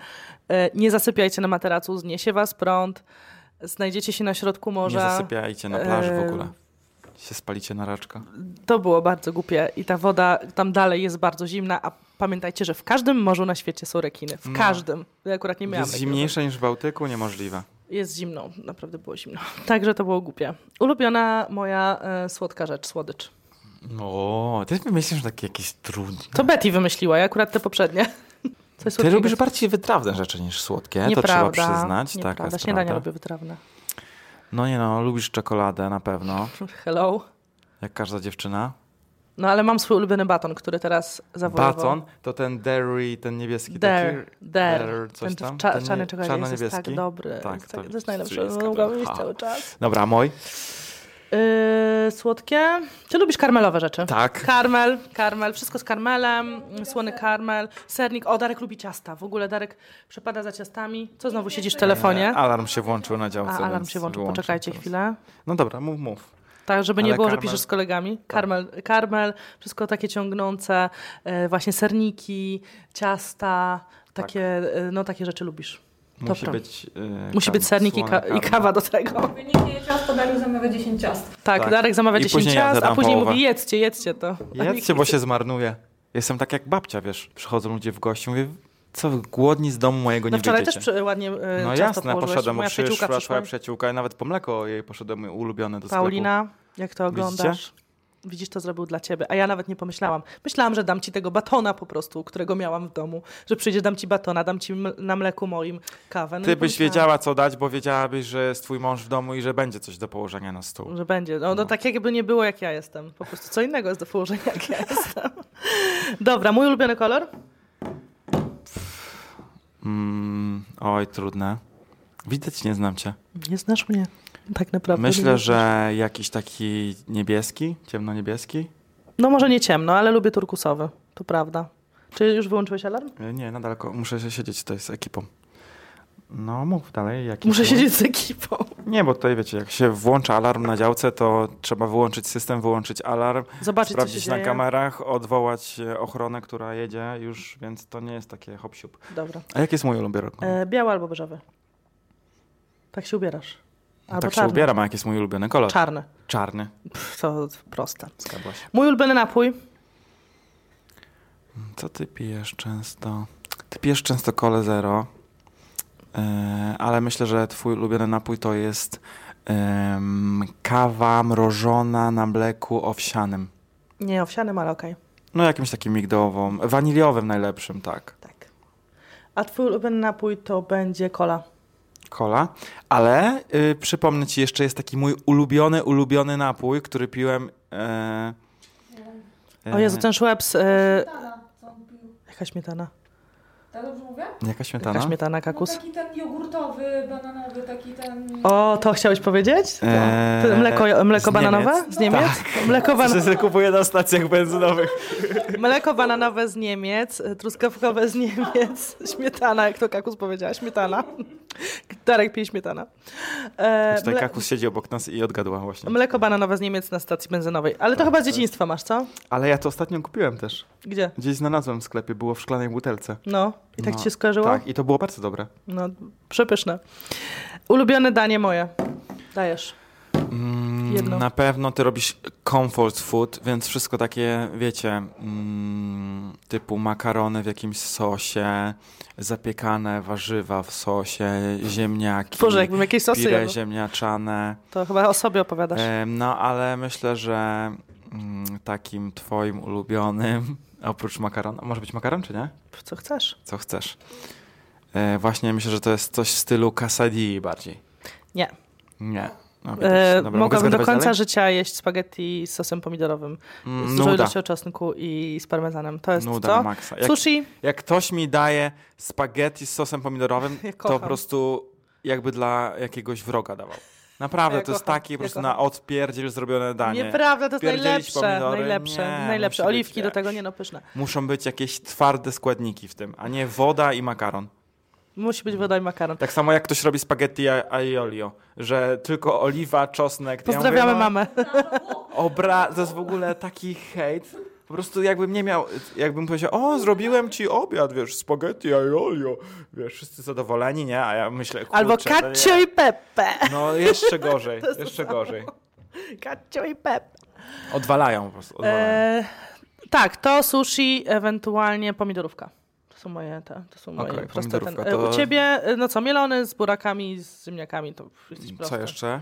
Speaker 1: E, Nie zasypiajcie na materacu, zniesie was prąd, znajdziecie się na środku morza. e,
Speaker 2: Nie zasypiajcie na plaży w
Speaker 1: Em,
Speaker 2: ogóle. Się spalicie na raczka.
Speaker 1: To było bardzo głupie i ta woda tam dalej jest bardzo zimna, a pamiętajcie, że w każdym morzu na świecie są rekiny. W
Speaker 2: No.
Speaker 1: każdym. Ja akurat nie miałam
Speaker 2: Jest
Speaker 1: takiego.
Speaker 2: zimniejsze niż w Bałtyku? Niemożliwe.
Speaker 1: Jest zimno, naprawdę było zimno. *laughs* Także to było głupie. Ulubiona moja e, słodka rzecz, słodycz.
Speaker 2: O, ty myślisz takie jakieś trudne.
Speaker 1: To Betty wymyśliła, ja akurat te poprzednie. Coś
Speaker 2: Tak. *laughs* Ty
Speaker 1: słodkiego.
Speaker 2: lubisz bardziej wytrawne rzeczy niż słodkie, to trzeba
Speaker 1: Nieprawda,
Speaker 2: przyznać. Taka
Speaker 1: Nieprawda,
Speaker 2: jest
Speaker 1: śniadania
Speaker 2: prawda.
Speaker 1: lubię wytrawne. *laughs*
Speaker 2: No nie no, lubisz czekoladę na pewno,
Speaker 1: Hello.
Speaker 2: jak każda dziewczyna.
Speaker 1: No ale mam swój ulubiony baton, który teraz zawojował.
Speaker 2: Baton to ten dairy, ten niebieski
Speaker 1: There,
Speaker 2: taki.
Speaker 1: there.
Speaker 2: Dare, coś
Speaker 1: Ten
Speaker 2: tam?
Speaker 1: cza-
Speaker 2: Ten nie-
Speaker 1: czarny czekoladzie jest, jest tak
Speaker 2: czarno-niebieski?
Speaker 1: dobry.
Speaker 2: Tak,
Speaker 1: jest, tak,
Speaker 2: to
Speaker 1: to jest najlepsze.
Speaker 2: jest
Speaker 1: Mogłabym
Speaker 2: dobra.
Speaker 1: mieć cały czas.
Speaker 2: Dobra, mój.
Speaker 1: Yy, słodkie. Ty lubisz karmelowe rzeczy?
Speaker 2: Tak.
Speaker 1: Karmel, karmel, wszystko z karmelem, słony karmel, sernik. O, Darek lubi ciasta. W ogóle Darek przepada za ciastami. Co znowu siedzisz w telefonie?
Speaker 2: E, Alarm się włączył na
Speaker 1: A
Speaker 2: działce.
Speaker 1: alarm
Speaker 2: więc
Speaker 1: się włączył,
Speaker 2: wyłączę
Speaker 1: poczekajcie
Speaker 2: teraz.
Speaker 1: chwilę.
Speaker 2: No dobra, mów, mów.
Speaker 1: Tak, żeby nie
Speaker 2: Ale
Speaker 1: było, że
Speaker 2: karmel- Tak.
Speaker 1: piszesz z kolegami. Karmel, karmel, wszystko takie ciągnące, e, właśnie serniki, ciasta, takie, e, no takie rzeczy lubisz.
Speaker 2: Tak. Musi
Speaker 1: Dobra.
Speaker 2: być, y,
Speaker 1: Musi
Speaker 2: kar-
Speaker 1: być sernik i,
Speaker 2: słona
Speaker 1: ka- i
Speaker 2: karma.
Speaker 1: kawa do tego.
Speaker 3: Wyniki ciasto, Dariusz zamawia 10 ciast.
Speaker 1: Tak,
Speaker 2: Tak.
Speaker 1: Darek zamawia
Speaker 2: I
Speaker 1: 10
Speaker 2: później ja
Speaker 1: ciast, a
Speaker 2: zadam
Speaker 1: później
Speaker 2: połowę.
Speaker 1: mówi jedzcie, jedzcie to. A nikt
Speaker 2: Jedzcie, bo się zmarnuje. Jestem tak jak babcia, wiesz. Przychodzą ludzie w gości, mówię, co wy głodni z domu mojego
Speaker 1: No
Speaker 2: nie
Speaker 1: wczoraj
Speaker 2: wyjdziecie.
Speaker 1: też przy, ładnie e,
Speaker 2: No
Speaker 1: ciasto
Speaker 2: jasne,
Speaker 1: położyłeś.
Speaker 2: poszedłem, bo
Speaker 1: Moja
Speaker 2: przyszła
Speaker 1: przyjaciółka
Speaker 2: twoja
Speaker 1: przyszła.
Speaker 2: przyjaciółka i nawet po mleko o jej poszedłem moje ulubione do sklepu.
Speaker 1: Paulina, jak to oglądasz? Widzisz, to zrobił dla ciebie, a ja nawet nie pomyślałam. Myślałam, że dam ci tego batona po prostu, którego miałam w domu, że przyjdzie, dam ci batona, dam ci m- na mleku moim kawę. No
Speaker 2: Ty
Speaker 1: nie
Speaker 2: byś
Speaker 1: pomyślałam,
Speaker 2: wiedziała, co dać, bo wiedziałabyś, że jest twój mąż w domu i że będzie coś do położenia na stół.
Speaker 1: Że będzie. No, no tak jakby nie było, jak ja jestem. Po prostu co innego jest do położenia, jak ja jestem. Dobra, mój ulubiony kolor?
Speaker 2: Mm, oj, trudne. Widać, nie znam cię.
Speaker 1: Nie znasz mnie, tak naprawdę.
Speaker 2: Myślę,
Speaker 1: Nie znasz.
Speaker 2: że jakiś taki niebieski, ciemno-niebieski.
Speaker 1: No może nie ciemno, ale lubię turkusowy, to prawda. Czy już wyłączyłeś alarm?
Speaker 2: E, Nie, nadal ko- muszę się siedzieć tutaj z ekipą. No, mów dalej. Jaki
Speaker 1: Muszę
Speaker 2: był?
Speaker 1: siedzieć z ekipą.
Speaker 2: Nie, bo tutaj wiecie, jak się włącza alarm na działce, to trzeba wyłączyć system, wyłączyć alarm,
Speaker 1: Zobaczyć, co się
Speaker 2: sprawdzić na
Speaker 1: dzieje.
Speaker 2: kamerach, odwołać e, ochronę, która jedzie już, więc to nie jest takie hop siup.
Speaker 1: Dobra.
Speaker 2: A jaki jest mój ulubiony kolor?
Speaker 1: E, biały albo beżowy. Tak się ubierasz. Albo
Speaker 2: tak się
Speaker 1: czarny.
Speaker 2: ubieram, a jaki jest mój ulubiony kolor?
Speaker 1: Czarny.
Speaker 2: Czarny.
Speaker 1: Pff, to proste.
Speaker 2: Zgadłaś.
Speaker 1: Mój ulubiony napój.
Speaker 2: Co ty pijesz często? Ty pijesz często kole zero, e, ale myślę, że twój ulubiony napój to jest em, kawa mrożona na mleku owsianym.
Speaker 1: Nie owsianym, ale okej.
Speaker 2: No jakimś takim migdałowym, waniliowym najlepszym, tak.
Speaker 1: Tak. A twój ulubiony napój to będzie cola.
Speaker 2: Kola. Ale y, przypomnę ci, jeszcze jest taki mój ulubiony, ulubiony napój, który piłem... E,
Speaker 1: O Jezu, ten Schweppes, e,
Speaker 3: Tana, co on pił?
Speaker 1: jaka śmietana.
Speaker 3: Tak dobrze mówię?
Speaker 2: Jaka
Speaker 1: Taka
Speaker 2: śmietana?
Speaker 1: śmietana,
Speaker 3: No,
Speaker 1: kakus.
Speaker 3: taki ten jogurtowy, bananowy, taki ten...
Speaker 1: O, to chciałeś powiedzieć?
Speaker 2: Eee,
Speaker 1: To Mleko,
Speaker 2: z
Speaker 1: mleko
Speaker 2: Niemiec.
Speaker 1: bananowe z Niemiec?
Speaker 2: *laughs*
Speaker 1: Mleko, ban-
Speaker 2: Że się kupuje na stacjach benzynowych.
Speaker 1: mleko bananowe z Niemiec, y, truskawkowe z Niemiec, *laughs* śmietana, jak to kakus powiedziała, śmietana. Darek pije śmietana. E,
Speaker 2: Tutaj
Speaker 1: mle-
Speaker 2: kakus siedzi obok nas i odgadła właśnie.
Speaker 1: Mleko bananowe z Niemiec na stacji benzynowej. Ale
Speaker 2: Tak,
Speaker 1: to chyba z dzieciństwa masz, co?
Speaker 2: Ale ja to ostatnio kupiłem też.
Speaker 1: Gdzie?
Speaker 2: Gdzieś znalazłem w sklepie, było w szklanej butelce.
Speaker 1: No, i tak
Speaker 2: No,
Speaker 1: ci się skojarzyło?
Speaker 2: Tak, i to było bardzo dobre.
Speaker 1: No, przepyszne. Ulubione danie moje. Dajesz.
Speaker 2: Mm,
Speaker 1: Jedno.
Speaker 2: Na pewno ty robisz comfort food, więc wszystko takie, wiecie, mm, typu makarony w jakimś sosie, zapiekane warzywa w sosie, ziemniaki,
Speaker 1: Boże, jakbym jakieś sosy
Speaker 2: pire
Speaker 1: jadł.
Speaker 2: ziemniaczane.
Speaker 1: To chyba o sobie opowiadasz.
Speaker 2: Em, No, ale myślę, że mm, takim twoim ulubionym, oprócz makaronu, może być makaron czy nie?
Speaker 1: Co chcesz?
Speaker 2: Co chcesz? E, Właśnie myślę, że to jest coś w stylu casadii bardziej.
Speaker 1: Nie.
Speaker 2: Nie. No, widać.
Speaker 1: E,
Speaker 2: Dobra, mogę
Speaker 1: mogłabym do
Speaker 2: zgadywać
Speaker 1: końca
Speaker 2: dalej?
Speaker 1: życia jeść spaghetti z sosem pomidorowym.
Speaker 2: Mm,
Speaker 1: Z dużą
Speaker 2: Nuda.
Speaker 1: ilością czosnku i z parmezanem. To jest
Speaker 2: Nuda na
Speaker 1: co?
Speaker 2: maksa. Jak,
Speaker 1: Sushi?
Speaker 2: jak ktoś mi daje spaghetti z sosem
Speaker 1: *laughs*
Speaker 2: pomidorowym,
Speaker 1: Ja
Speaker 2: to
Speaker 1: kocham.
Speaker 2: po prostu jakby dla jakiegoś wroga dawał. Naprawdę,
Speaker 1: Ja
Speaker 2: to jest
Speaker 1: kocham,
Speaker 2: takie
Speaker 1: ja
Speaker 2: po prostu
Speaker 1: kocham.
Speaker 2: na odpierdziel zrobione danie.
Speaker 1: Nieprawda, to jest
Speaker 2: Pierdzielić
Speaker 1: najlepsze.
Speaker 2: pomidory?
Speaker 1: najlepsze,
Speaker 2: Nie, no
Speaker 1: najlepsze.
Speaker 2: musi być,
Speaker 1: Oliwki do
Speaker 2: wiesz.
Speaker 1: tego nie no pyszne.
Speaker 2: Muszą być jakieś twarde składniki w tym, a nie woda i makaron.
Speaker 1: Musi być woda i makaron.
Speaker 2: Tak samo jak ktoś robi spaghetti a- aiolio, że tylko oliwa, czosnek. to ja
Speaker 1: Pozdrawiamy
Speaker 2: mówię, no,
Speaker 1: mamę.
Speaker 2: Obra, to jest w ogóle taki hejt. Po prostu jakbym nie miał, jakbym powiedział, o, zrobiłem ci obiad, wiesz, spaghetti aiolio. Wiesz, wszyscy zadowoleni, nie? A ja myślę, kurczę,
Speaker 1: Albo
Speaker 2: to nie-
Speaker 1: Kacio i Pepe. *laughs*
Speaker 2: No, jeszcze gorzej, jeszcze gorzej.
Speaker 1: Kacio i Pepe.
Speaker 2: Odwalają po prostu, odwalają.
Speaker 1: E, tak, to sushi, ewentualnie pomidorówka. To są moje te, to są moje
Speaker 2: Okej,
Speaker 1: proste ten.
Speaker 2: pomidorówka
Speaker 1: e, U
Speaker 2: to-
Speaker 1: ciebie, e, no co, mielony z burakami, z ziemniakami, to jesteś
Speaker 2: Co
Speaker 1: prosta.
Speaker 2: jeszcze?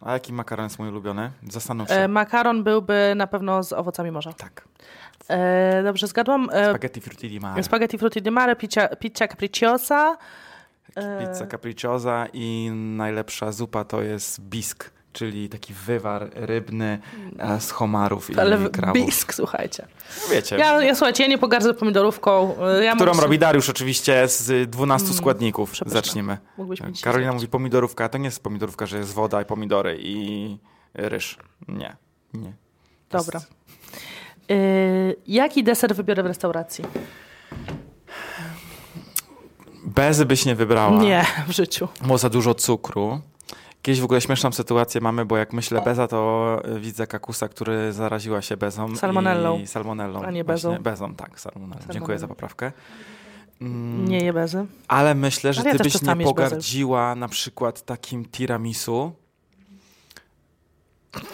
Speaker 2: A jaki makaron jest mój ulubiony? Zastanów się.
Speaker 1: E, makaron byłby na pewno z owocami morza.
Speaker 2: tak.
Speaker 1: E, dobrze, zgadłam. E,
Speaker 2: Spaghetti frutti di mare.
Speaker 1: spaghetti frutti di mare, pizza, pizza capricciosa. e.
Speaker 2: Pizza capricciosa i najlepsza zupa to jest bisk, czyli taki wywar rybny e, z homarów i
Speaker 1: Ale w-
Speaker 2: krabów.
Speaker 1: bisk, słuchajcie.
Speaker 2: Wiecie,
Speaker 1: Ja, ja słuchajcie, ja nie pogardzę pomidorówką. e, Ja
Speaker 2: którą
Speaker 1: mogę-
Speaker 2: robi Dariusz oczywiście z 12 składników.
Speaker 1: przepyszna.
Speaker 2: Zaczniemy.
Speaker 1: Mógłbyś mi dzisiaj
Speaker 2: Karolina
Speaker 1: zrobić.
Speaker 2: mówi pomidorówka, to nie jest pomidorówka, że jest woda i pomidory i ryż. Nie, nie. To
Speaker 1: Dobra.
Speaker 2: jest-
Speaker 1: E, jaki deser wybiorę w restauracji?
Speaker 2: Bezy byś nie wybrała.
Speaker 1: Nie, w życiu.
Speaker 2: Było za dużo cukru. Kiedyś w ogóle śmieszną sytuację mamy, bo jak myślę beza, to y, widzę kakusa, który zaraziła się bezą.
Speaker 1: Salmonellą.
Speaker 2: I salmonellą.
Speaker 1: A nie
Speaker 2: Właśnie,
Speaker 1: bezą.
Speaker 2: Bezą, tak, salmonellą. Dziękuję
Speaker 1: Salmonellą.
Speaker 2: za poprawkę. Mm,
Speaker 1: Nie je bezy.
Speaker 2: Ale myślę, że
Speaker 1: Ale ja
Speaker 2: ty
Speaker 1: też
Speaker 2: byś
Speaker 1: czasami
Speaker 2: nie
Speaker 1: jest bezel.
Speaker 2: pogardziła na przykład takim tiramisu.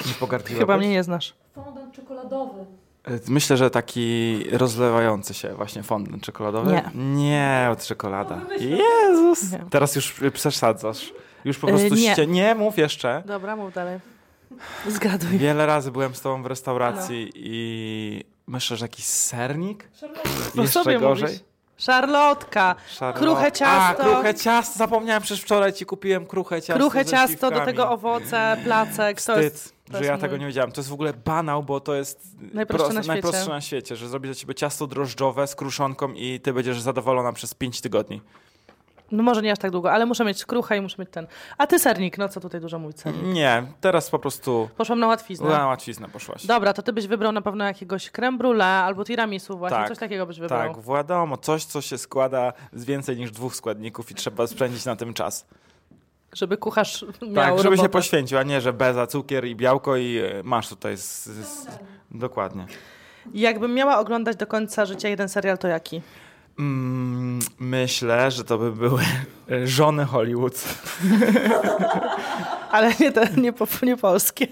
Speaker 2: Nie pogardziła
Speaker 1: Chyba mnie nie znasz.
Speaker 3: Fondant czekoladowy.
Speaker 2: E, Myślę, że taki rozlewający się właśnie fondant czekoladowy.
Speaker 1: Nie.
Speaker 2: Nie, od czekolada.
Speaker 3: No wymyśl.
Speaker 2: Jezus!
Speaker 1: Nie.
Speaker 2: Teraz już y, przesadzasz. Już po
Speaker 1: Y,
Speaker 2: prostu
Speaker 1: nie.
Speaker 2: ście... Nie, mów jeszcze.
Speaker 1: Dobra, mów dalej. Zgaduj.
Speaker 2: Wiele razy byłem z tobą w restauracji i myślę, że jakiś sernik?
Speaker 3: Szarlotka.
Speaker 1: No
Speaker 2: Jeszcze
Speaker 1: sobie
Speaker 2: gorzej.
Speaker 1: mówisz. Szarlotka,
Speaker 2: Szarlotka.
Speaker 1: Kruche ciasto.
Speaker 2: A, kruche ciasto. Zapomniałem, przecież wczoraj ci kupiłem kruche ciasto
Speaker 1: kruche
Speaker 2: ze
Speaker 1: ciasto, do
Speaker 2: śliwkami.
Speaker 1: tego owoce, placek. To
Speaker 2: Wstyd,
Speaker 1: jest, to
Speaker 2: że
Speaker 1: jest
Speaker 2: ja
Speaker 1: mój-
Speaker 2: tego nie wiedziałem. To jest w ogóle banał, bo to jest
Speaker 1: Najprostsze
Speaker 2: proste-
Speaker 1: na świecie.
Speaker 2: najprostsze na świecie, że zrobi dla ciebie ciasto drożdżowe z kruszonką i ty będziesz zadowolona przez 5 tygodni.
Speaker 1: No może nie aż tak długo, ale muszę mieć kruche i muszę mieć ten. A ty sernik, no co tutaj dużo mówić sernik.
Speaker 2: Nie, teraz po prostu
Speaker 1: Poszłam na łatwiznę.
Speaker 2: na łatwiznę poszłaś.
Speaker 1: Dobra, to ty byś wybrał na pewno jakiegoś creme brulee albo tiramisu właśnie,
Speaker 2: Tak,
Speaker 1: coś takiego byś wybrał.
Speaker 2: Tak, wiadomo, coś, co się składa z więcej niż dwóch składników i trzeba spędzić na tym czas.
Speaker 1: Żeby kucharz miał
Speaker 2: tak, żeby się
Speaker 1: robotę.
Speaker 2: poświęcił, a nie, że beza, cukier i białko i e, masz tutaj z, z, dokładnie.
Speaker 1: Jakbym miała oglądać do końca życia jeden serial, to jaki?
Speaker 2: Mm, myślę, że to by były e, żony Hollywood.
Speaker 1: Ale nie, te, nie, po, nie polskie.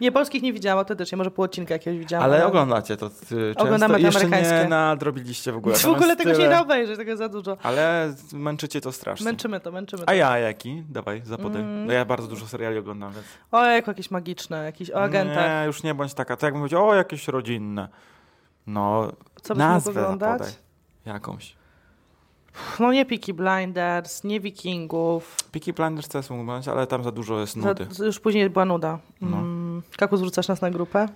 Speaker 1: Nie, polskich nie widziałam autentycznie, może pół odcinka jakiegoś widziałam.
Speaker 2: Ale oglądacie to ty,
Speaker 1: Oglądamy
Speaker 2: często.
Speaker 1: te
Speaker 2: Jeszcze
Speaker 1: amerykańskie.
Speaker 2: nie nadrobiliście w ogóle.
Speaker 1: W
Speaker 2: Tam
Speaker 1: ogóle
Speaker 2: jest
Speaker 1: tego się
Speaker 2: tyle.
Speaker 1: nie da obejrzeć, tego jest za dużo.
Speaker 2: Ale męczycie to strasznie.
Speaker 1: Męczymy to, męczymy to.
Speaker 2: A ja jaki? Dawaj, zapodaj.
Speaker 1: Mm.
Speaker 2: No ja bardzo dużo seriali oglądam, więc...
Speaker 1: Ojejku, jakieś magiczne, tak. jakieś o agentach.
Speaker 2: Nie, już nie bądź taka. To jakbym powiedział, o, jakieś rodzinne. No,
Speaker 1: Co byś mógł
Speaker 2: nazwę
Speaker 1: oglądać?
Speaker 2: zapodaj. Jakąś.
Speaker 1: No nie Peaky Blinders, nie Wikingów.
Speaker 2: Peaky Blinders też mógł oglądać, ale tam za dużo jest
Speaker 1: Za,
Speaker 2: nudy. No.
Speaker 1: już później była nuda. Mm. Kaku, zwrócasz nas na grupę?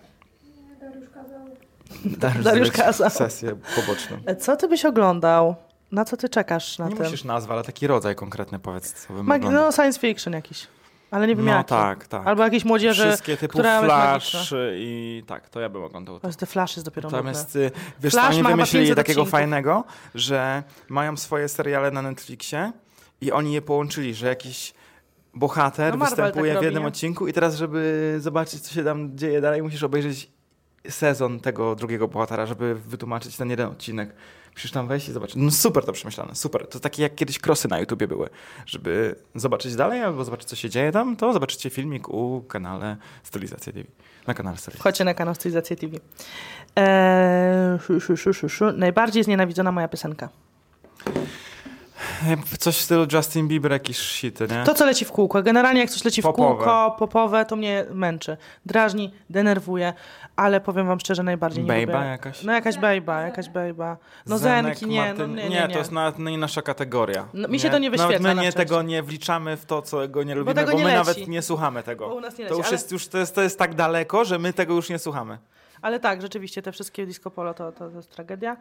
Speaker 3: Dariusz kazał.
Speaker 1: *laughs*
Speaker 2: Dariusz,
Speaker 1: Dariusz
Speaker 2: zlecił
Speaker 1: kazał.
Speaker 2: Sesję poboczną.
Speaker 1: E, Co ty byś oglądał? Na co ty czekasz na
Speaker 2: nie
Speaker 1: tym?
Speaker 2: musisz nazwy, ale taki rodzaj konkretny powiedz, co
Speaker 1: Mag-
Speaker 2: wymaga.
Speaker 1: no science fiction jakiś. Ale nie wiem
Speaker 2: no
Speaker 1: jaki.
Speaker 2: tak, tak.
Speaker 1: Albo jakieś młodzieży.
Speaker 2: Wszystkie typu
Speaker 1: która jest
Speaker 2: Flash
Speaker 1: magiczna.
Speaker 2: i tak, to ja bym oglądał.
Speaker 1: O, The Flash jest dopiero Natomiast...
Speaker 2: Natomiast y, wiesz,
Speaker 1: Flash
Speaker 2: co oni
Speaker 1: ma chyba
Speaker 2: wymyślili
Speaker 1: 500
Speaker 2: takiego
Speaker 1: odcinków.
Speaker 2: fajnego, że mają swoje seriale na Netflixie i oni je połączyli, że jakiś bohater
Speaker 1: No Marvel
Speaker 2: występuje
Speaker 1: tak
Speaker 2: w
Speaker 1: robi,
Speaker 2: jednym
Speaker 1: nie?
Speaker 2: odcinku i teraz, żeby zobaczyć, co się tam dzieje dalej, musisz obejrzeć sezon tego drugiego bohatera, żeby wytłumaczyć ten jeden odcinek. Musisz tam wejść i zobaczyć. No super to przemyślane, super. To takie jak kiedyś krosy na YouTubie były. Żeby zobaczyć dalej albo zobaczyć, co się dzieje tam, to zobaczycie filmik u kanale Stylizacja TV. Na kanale Stylizacja.
Speaker 1: Chodźcie na kanał Stylizacja TV. Eee, szu, szu, szu, szu, szu. Najbardziej znienawidzona moja piosenka.
Speaker 2: Coś w stylu Justin Bieber, jakiś shit, nie?
Speaker 1: To, co leci w kółko. Generalnie jak coś leci w
Speaker 2: Popowe.
Speaker 1: kółko, popowe, to mnie męczy. Drażni, denerwuje, ale powiem wam szczerze, najbardziej nie
Speaker 2: Bejba
Speaker 1: lubię.
Speaker 2: jakaś?
Speaker 1: No jakaś bejba, jakaś bejba. No
Speaker 2: Zenek,
Speaker 1: zenki, nie, no,
Speaker 2: Martyn-
Speaker 1: nie, nie, nie.
Speaker 2: to jest nawet nie nasza kategoria.
Speaker 1: No, mi się to nie
Speaker 2: Nawet
Speaker 1: wyświetla
Speaker 2: my
Speaker 1: na
Speaker 2: nie,
Speaker 1: szczęście.
Speaker 2: tego nie wliczamy w to, co go nie lubimy, bo,
Speaker 1: tego nie
Speaker 2: my
Speaker 1: leci.
Speaker 2: nawet nie słuchamy tego.
Speaker 1: Bo u nas nie
Speaker 2: to
Speaker 1: leci,
Speaker 2: już
Speaker 1: ale-
Speaker 2: jest, już, to, jest, to jest tak daleko, że my tego już nie słuchamy.
Speaker 1: Ale tak, rzeczywiście, te wszystkie disco polo to, to, to jest tragedia.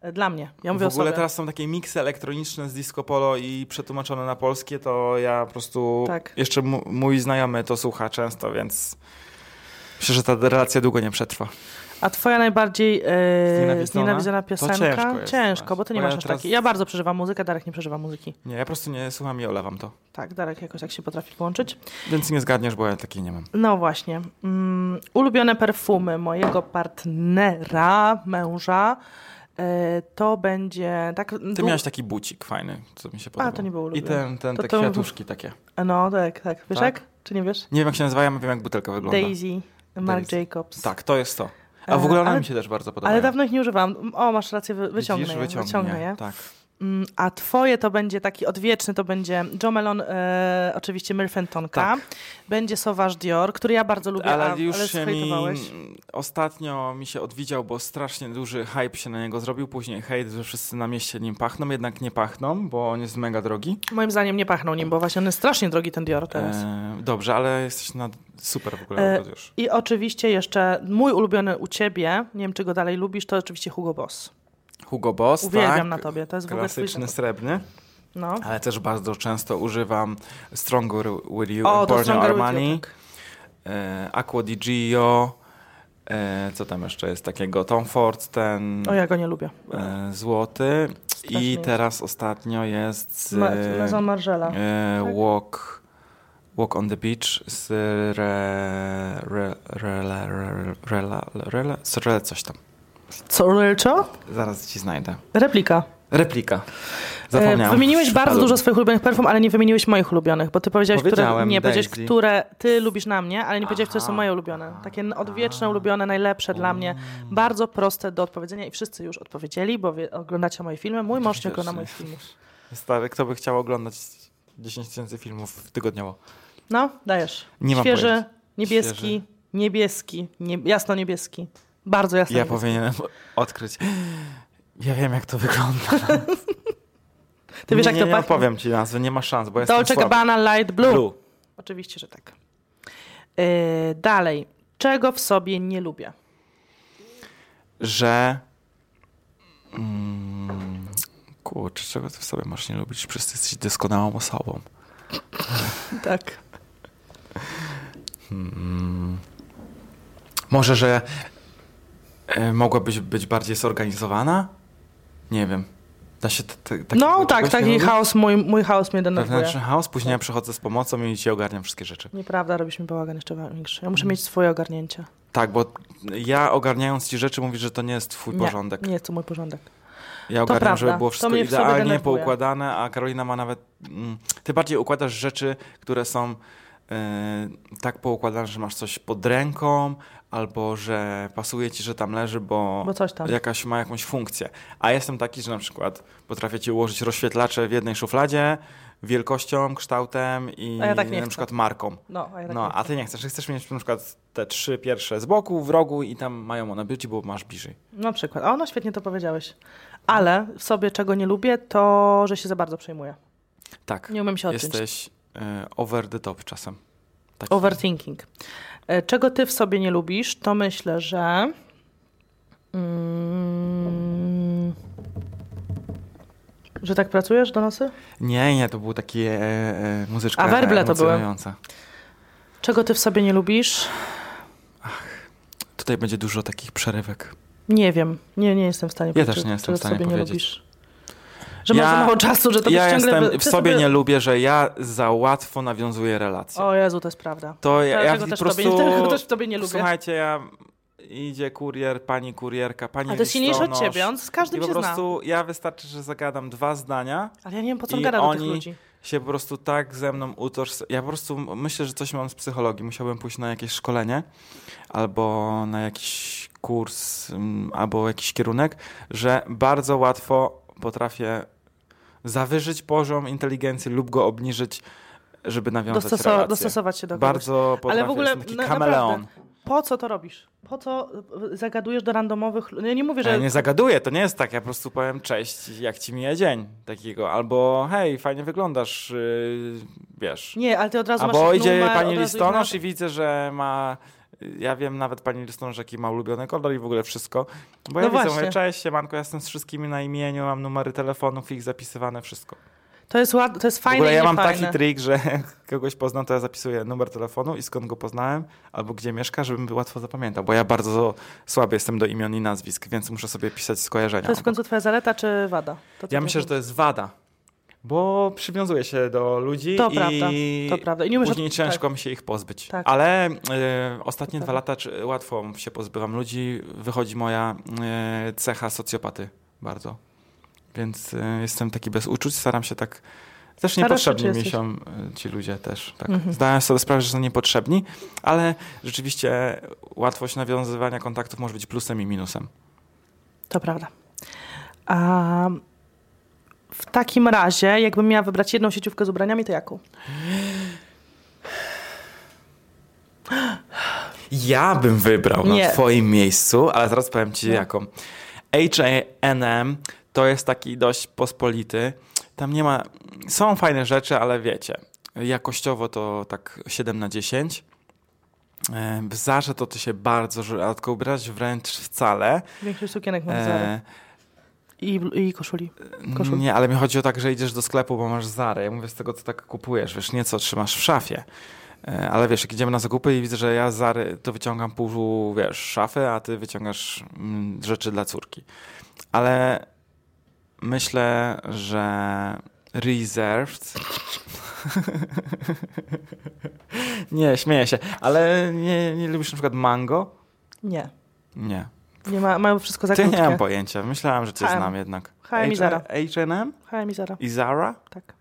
Speaker 1: E, Dla mnie. Ja
Speaker 2: w
Speaker 1: mówię
Speaker 2: ogóle
Speaker 1: o sobie.
Speaker 2: teraz są takie miksy elektroniczne z disco polo i przetłumaczone na polskie, to ja po prostu...
Speaker 1: Tak.
Speaker 2: Jeszcze mu- mój znajomy to słucha często, więc... Myślę, że ta relacja długo nie przetrwa.
Speaker 1: A twoja najbardziej e,
Speaker 2: Znienawidzona?
Speaker 1: znienawidzona
Speaker 2: To
Speaker 1: piosenka?
Speaker 2: ciężko jest
Speaker 1: Ciężko, bo
Speaker 2: właśnie,
Speaker 1: ty nie
Speaker 2: bo ja
Speaker 1: masz aż
Speaker 2: teraz-
Speaker 1: takiej. Ja bardzo przeżywam muzykę, Darek nie przeżywa muzyki.
Speaker 2: Nie, ja po prostu nie słucham i olewam to.
Speaker 1: Tak, Darek jakoś tak się potrafi połączyć.
Speaker 2: Więc nie zgadniesz, bo ja takiej nie mam.
Speaker 1: No właśnie. Mm, ulubione perfumy mojego partnera, męża, e, to będzie tak...
Speaker 2: Ty
Speaker 1: dłu-
Speaker 2: miałeś taki bucik fajny, co mi się podobał.
Speaker 1: to nie było
Speaker 2: I
Speaker 1: ulubione.
Speaker 2: ten, ten,
Speaker 1: To-
Speaker 2: te
Speaker 1: to-
Speaker 2: kwiatuszki takie.
Speaker 1: No tak, tak. Wiesz
Speaker 2: Tak?
Speaker 1: jak? Czy nie wiesz?
Speaker 2: Nie wiem, jak się nazywają, wiem, jak butelka wygląda.
Speaker 1: Daisy, Marc
Speaker 2: Daisy.
Speaker 1: Jacobs.
Speaker 2: Tak, to jest to. A w
Speaker 1: E,
Speaker 2: ogóle one
Speaker 1: ale-
Speaker 2: mi się też bardzo podobają.
Speaker 1: Ale dawno ich nie używam. O, masz rację, wy- wyciągnę
Speaker 2: Widzisz,
Speaker 1: je.
Speaker 2: wyciągnie,
Speaker 1: Wyciągnę je.
Speaker 2: Tak.
Speaker 1: Mm, A twoje to będzie taki odwieczny, to będzie Joe Melon, e, oczywiście Myrf and Tonka.
Speaker 2: Tak.
Speaker 1: Będzie Sauvage Dior, który ja bardzo lubię,
Speaker 2: ale
Speaker 1: a,
Speaker 2: już
Speaker 1: ale
Speaker 2: się mi...
Speaker 1: zhejtowałeś.
Speaker 2: Ostatnio mi się odwidział, bo strasznie duży hype się na niego zrobił. Później hejt, że wszyscy na mieście nim pachną, jednak nie pachną, bo on jest mega drogi.
Speaker 1: Moim zdaniem nie pachną nim, bo właśnie on jest strasznie drogi ten Dior teraz.
Speaker 2: E, dobrze, ale jesteś na... super w ogóle.
Speaker 1: E,
Speaker 2: Robert, już.
Speaker 1: I oczywiście jeszcze mój ulubiony u ciebie, nie wiem czy go dalej lubisz, to oczywiście Hugo Boss.
Speaker 2: Hugo Boss,
Speaker 1: Uwielbiam
Speaker 2: tak?
Speaker 1: na tobie, to jest w ogóle twój
Speaker 2: Klasyczny,
Speaker 1: zawód.
Speaker 2: srebrny.
Speaker 1: No.
Speaker 2: Ale też bardzo często używam Stronger With You,
Speaker 1: O, to
Speaker 2: Born
Speaker 1: Stronger With
Speaker 2: Armani,
Speaker 1: You, tak.
Speaker 2: e, Aqua di Gio, e, co tam jeszcze jest takiego, Tom Ford, ten
Speaker 1: O, ja go nie lubię.
Speaker 2: e, złoty i
Speaker 1: jest.
Speaker 2: teraz ostatnio jest z,
Speaker 1: Ma- Maison Margiela.
Speaker 2: e,
Speaker 1: tak?
Speaker 2: Walk, Walk on the Beach z re, re, re, re, re, re, re, re, re, coś tam.
Speaker 1: Co, Lilczo?
Speaker 2: Zaraz ci znajdę.
Speaker 1: Replika.
Speaker 2: Replika.
Speaker 1: E,
Speaker 2: Zapomniałem.
Speaker 1: Wymieniłeś bardzo
Speaker 2: Ale-
Speaker 1: dużo swoich ulubionych perfum, ale nie wymieniłeś moich ulubionych, bo ty powiedziałeś, które,
Speaker 2: Powiedziałem
Speaker 1: nie, powiedziałeś,
Speaker 2: Daisy.
Speaker 1: które ty lubisz na mnie, ale nie powiedziałeś, które są
Speaker 2: Aha.
Speaker 1: moje ulubione. Takie n- odwieczne,
Speaker 2: A.
Speaker 1: ulubione, najlepsze dla mnie.
Speaker 2: Mm.
Speaker 1: Bardzo proste do odpowiedzenia i wszyscy już odpowiedzieli, bo wie, oglądacie moje filmy. Mój mąż nie ogląda
Speaker 2: Wiesz,
Speaker 1: moich filmów.
Speaker 2: Stary, kto by chciał oglądać 10 tysięcy filmów tygodniowo?
Speaker 1: No, dajesz.
Speaker 2: Nie mam
Speaker 1: Świeży,
Speaker 2: pojęcia.
Speaker 1: niebieski,
Speaker 2: Świeży.
Speaker 1: niebieski, nie, jasno niebieski. Bardzo jasno
Speaker 2: Ja
Speaker 1: niebieski.
Speaker 2: powinienem odkryć. Ja wiem, jak to wygląda.
Speaker 1: Ty wiesz,
Speaker 2: nie,
Speaker 1: jak
Speaker 2: nie,
Speaker 1: to
Speaker 2: nie
Speaker 1: pachnie?
Speaker 2: opowiem ci nazwy, nie ma szans, bo jestem
Speaker 1: Dolce
Speaker 2: słaby.
Speaker 1: Gabbana Light Blue.
Speaker 2: Blue.
Speaker 1: Oczywiście, że tak. E, dalej. Czego w sobie nie lubię?
Speaker 2: Że... Mm, kurczę, czego ty w sobie masz nie lubić? Przecież jesteś doskonałą osobą.
Speaker 1: Tak.
Speaker 2: Mm, może, że e, mogłabyś być bardziej zorganizowana? Nie wiem. Da się t- t- takiego
Speaker 1: No tak,
Speaker 2: czegoś nie
Speaker 1: taki
Speaker 2: robić?
Speaker 1: chaos, mój, mój chaos tak. mnie denerwuje.
Speaker 2: Wewnętrzny chaos, później ja przychodzę z pomocą i ci ogarniam wszystkie rzeczy.
Speaker 1: Nieprawda, robisz mi bałagan jeszcze większy. Ja muszę
Speaker 2: Mm.
Speaker 1: mieć swoje ogarnięcie.
Speaker 2: Tak, bo ja ogarniając ci rzeczy mówisz, że to nie jest twój
Speaker 1: Nie,
Speaker 2: porządek.
Speaker 1: Nie jest to mój porządek.
Speaker 2: Ja ogarniam,
Speaker 1: prawda.
Speaker 2: żeby było
Speaker 1: To
Speaker 2: wszystko
Speaker 1: mnie w sobie
Speaker 2: idealnie
Speaker 1: denerwuje.
Speaker 2: poukładane, a Karolina ma nawet... Mm, ty bardziej układasz rzeczy, które są e, tak poukładane, że masz coś pod ręką, albo że pasuje ci, że tam leży, bo,
Speaker 1: Bo coś tam.
Speaker 2: jakaś ma jakąś funkcję. A jestem taki, że na przykład potrafię ci ułożyć rozświetlacze w jednej szufladzie, wielkością, kształtem i
Speaker 1: A ja tak nie
Speaker 2: na
Speaker 1: chcę.
Speaker 2: przykład marką.
Speaker 1: No, a ja tak
Speaker 2: No,
Speaker 1: nie
Speaker 2: a ty nie chcesz. Chcesz mieć na przykład te trzy pierwsze z boku, w rogu i tam mają one być, bo masz bliżej.
Speaker 1: Na przykład. A no świetnie to powiedziałeś. Ale w sobie czego nie lubię, to że się za bardzo przejmuję.
Speaker 2: Tak.
Speaker 1: Nie umiem się odciąć.
Speaker 2: Jesteś e, over the top czasem. Taki.
Speaker 1: Overthinking. E, Czego ty w sobie nie lubisz, to myślę, że. Mm, Że tak pracujesz do nocy?
Speaker 2: Nie, nie, to był taki e, e, muzyczka
Speaker 1: A werble to były.
Speaker 2: emocjonująca.
Speaker 1: Czego ty w sobie nie lubisz?
Speaker 2: Tutaj będzie dużo takich przerywek.
Speaker 1: Nie wiem. Nie, nie jestem w stanie
Speaker 2: Ja
Speaker 1: powiedzieć.
Speaker 2: też nie jestem
Speaker 1: czego
Speaker 2: w stanie
Speaker 1: sobie
Speaker 2: powiedzieć.
Speaker 1: Nie lubisz. Że
Speaker 2: Ja-
Speaker 1: masz za mało czasu, że to
Speaker 2: ja
Speaker 1: byś ciągle...
Speaker 2: jestem,
Speaker 1: ty
Speaker 2: w sobie nie lubię, że ja za łatwo nawiązuję relacje.
Speaker 1: O Jezu, to jest prawda.
Speaker 2: to ja, ja
Speaker 1: Dlatego
Speaker 2: po
Speaker 1: też,
Speaker 2: prostu...
Speaker 1: tobie, *laughs* dlatego też w tobie nie lubię.
Speaker 2: Słuchajcie, ja... Idzie kurier, pani kurierka, pani
Speaker 1: Ale to jest silniejszy od
Speaker 2: listonosz.
Speaker 1: ciebie, on z każdym
Speaker 2: no, I po
Speaker 1: się zna.
Speaker 2: prostu ja wystarczy, że zagadam dwa zdania,
Speaker 1: Ale ja nie wiem, po co on
Speaker 2: I
Speaker 1: gada do tych
Speaker 2: oni-
Speaker 1: ludzi.
Speaker 2: się po prostu tak ze mną utożs... Ja po prostu myślę, że coś mam z psychologii. Musiałbym pójść na jakieś szkolenie albo na jakiś kurs mm, albo jakiś kierunek, że bardzo łatwo potrafię zawyżyć poziom inteligencji lub go obniżyć, żeby nawiązać
Speaker 1: Dostosowa-
Speaker 2: relacje.
Speaker 1: dostosować się do kogoś.
Speaker 2: Bardzo potrafię,
Speaker 1: Ale w ogóle
Speaker 2: jestem taki
Speaker 1: na-
Speaker 2: kameleon.
Speaker 1: naprawdę, po co to robisz? Po co y, zagadujesz do randomowych... Ja nie mówię, że...
Speaker 2: Ja nie zagaduję, to nie jest tak, ja po prostu powiem cześć, jak ci mija dzień takiego, albo hej, fajnie wyglądasz, yy, wiesz.
Speaker 1: Nie, ale ty od razu
Speaker 2: Albo
Speaker 1: masz ich
Speaker 2: idzie
Speaker 1: numer, od
Speaker 2: pani
Speaker 1: razu ich
Speaker 2: listonosz i widzę, że ma. Ja wiem nawet pani listonosz, jaki ma ulubiony kolor i w ogóle wszystko. Bo ja
Speaker 1: No
Speaker 2: widzę,
Speaker 1: właśnie.
Speaker 2: mówię, cześć, siemanko, ja jestem z wszystkimi na imieniu, mam numery telefonów, ich zapisywane, wszystko.
Speaker 1: To jest, ład... to jest
Speaker 2: w
Speaker 1: fajne
Speaker 2: ogóle
Speaker 1: i
Speaker 2: ja mam
Speaker 1: niefajne.
Speaker 2: taki trik, że *laughs* kogoś poznam, to ja zapisuję numer telefonu i skąd go poznałem, albo gdzie mieszka, żebym łatwo zapamiętał, bo ja bardzo słaby jestem do imion i nazwisk, więc muszę sobie pisać skojarzenia.
Speaker 1: To jest w końcu twoja zaleta czy wada? To ty
Speaker 2: Ja
Speaker 1: nie
Speaker 2: myślę, że
Speaker 1: wiesz.
Speaker 2: to jest wada. Bo przywiązuję się do ludzi
Speaker 1: To
Speaker 2: i
Speaker 1: prawda, to prawda. I nie umiesz
Speaker 2: później
Speaker 1: od-
Speaker 2: ciężko mi się ich pozbyć.
Speaker 1: Tak.
Speaker 2: Ale e, ostatnie
Speaker 1: To
Speaker 2: dwa lata czy, łatwo się pozbywam ludzi. Wychodzi moja e, cecha socjopaty bardzo. Więc e, jestem taki bez uczuć, staram się tak... Też
Speaker 1: Starasz się,
Speaker 2: niepotrzebni
Speaker 1: czy
Speaker 2: mi
Speaker 1: jesteś?
Speaker 2: się e, ci ludzie też. Tak.
Speaker 1: Mhm.
Speaker 2: Zdałem sobie sprawę, że są niepotrzebni, ale rzeczywiście łatwość nawiązywania kontaktów może być plusem i minusem.
Speaker 1: To prawda. A w takim razie, jakbym miała wybrać jedną sieciówkę z ubraniami, to jaką?
Speaker 2: Ja bym wybrał
Speaker 1: Nie.
Speaker 2: na twoim miejscu, ale zaraz powiem ci jaką. H&M to jest taki dość pospolity. Tam nie ma... Są fajne rzeczy, ale wiecie, jakościowo to tak 7 na 10. E, W Zarze to ty się bardzo rzadko ubrać, wręcz wcale.
Speaker 1: Większość sukienek mam z Zary.
Speaker 2: E,
Speaker 1: I, i koszuli. koszul.
Speaker 2: nie, ale mi chodzi o tak, że idziesz do sklepu, bo masz Zarę. Ja mówię z tego, co tak kupujesz, wiesz, nie co trzymasz w szafie. E, Ale wiesz, jak idziemy na zakupy i widzę, że ja z Zary to wyciągam pół, wiesz, szafy, a ty wyciągasz mm, rzeczy dla córki. Ale myślę, że reserved... *laughs* nie, śmieję się. Ale nie, nie lubisz na przykład mango?
Speaker 1: Nie.
Speaker 2: Nie.
Speaker 1: nie ma, mają wszystko za
Speaker 2: Ty nie
Speaker 1: krótkie.
Speaker 2: mam pojęcia. Myślałem, że cię
Speaker 1: H&M.
Speaker 2: znam jednak.
Speaker 1: H&M i Zara.
Speaker 2: H&M?
Speaker 1: H&M i Zara.
Speaker 2: I Zara?
Speaker 1: Tak.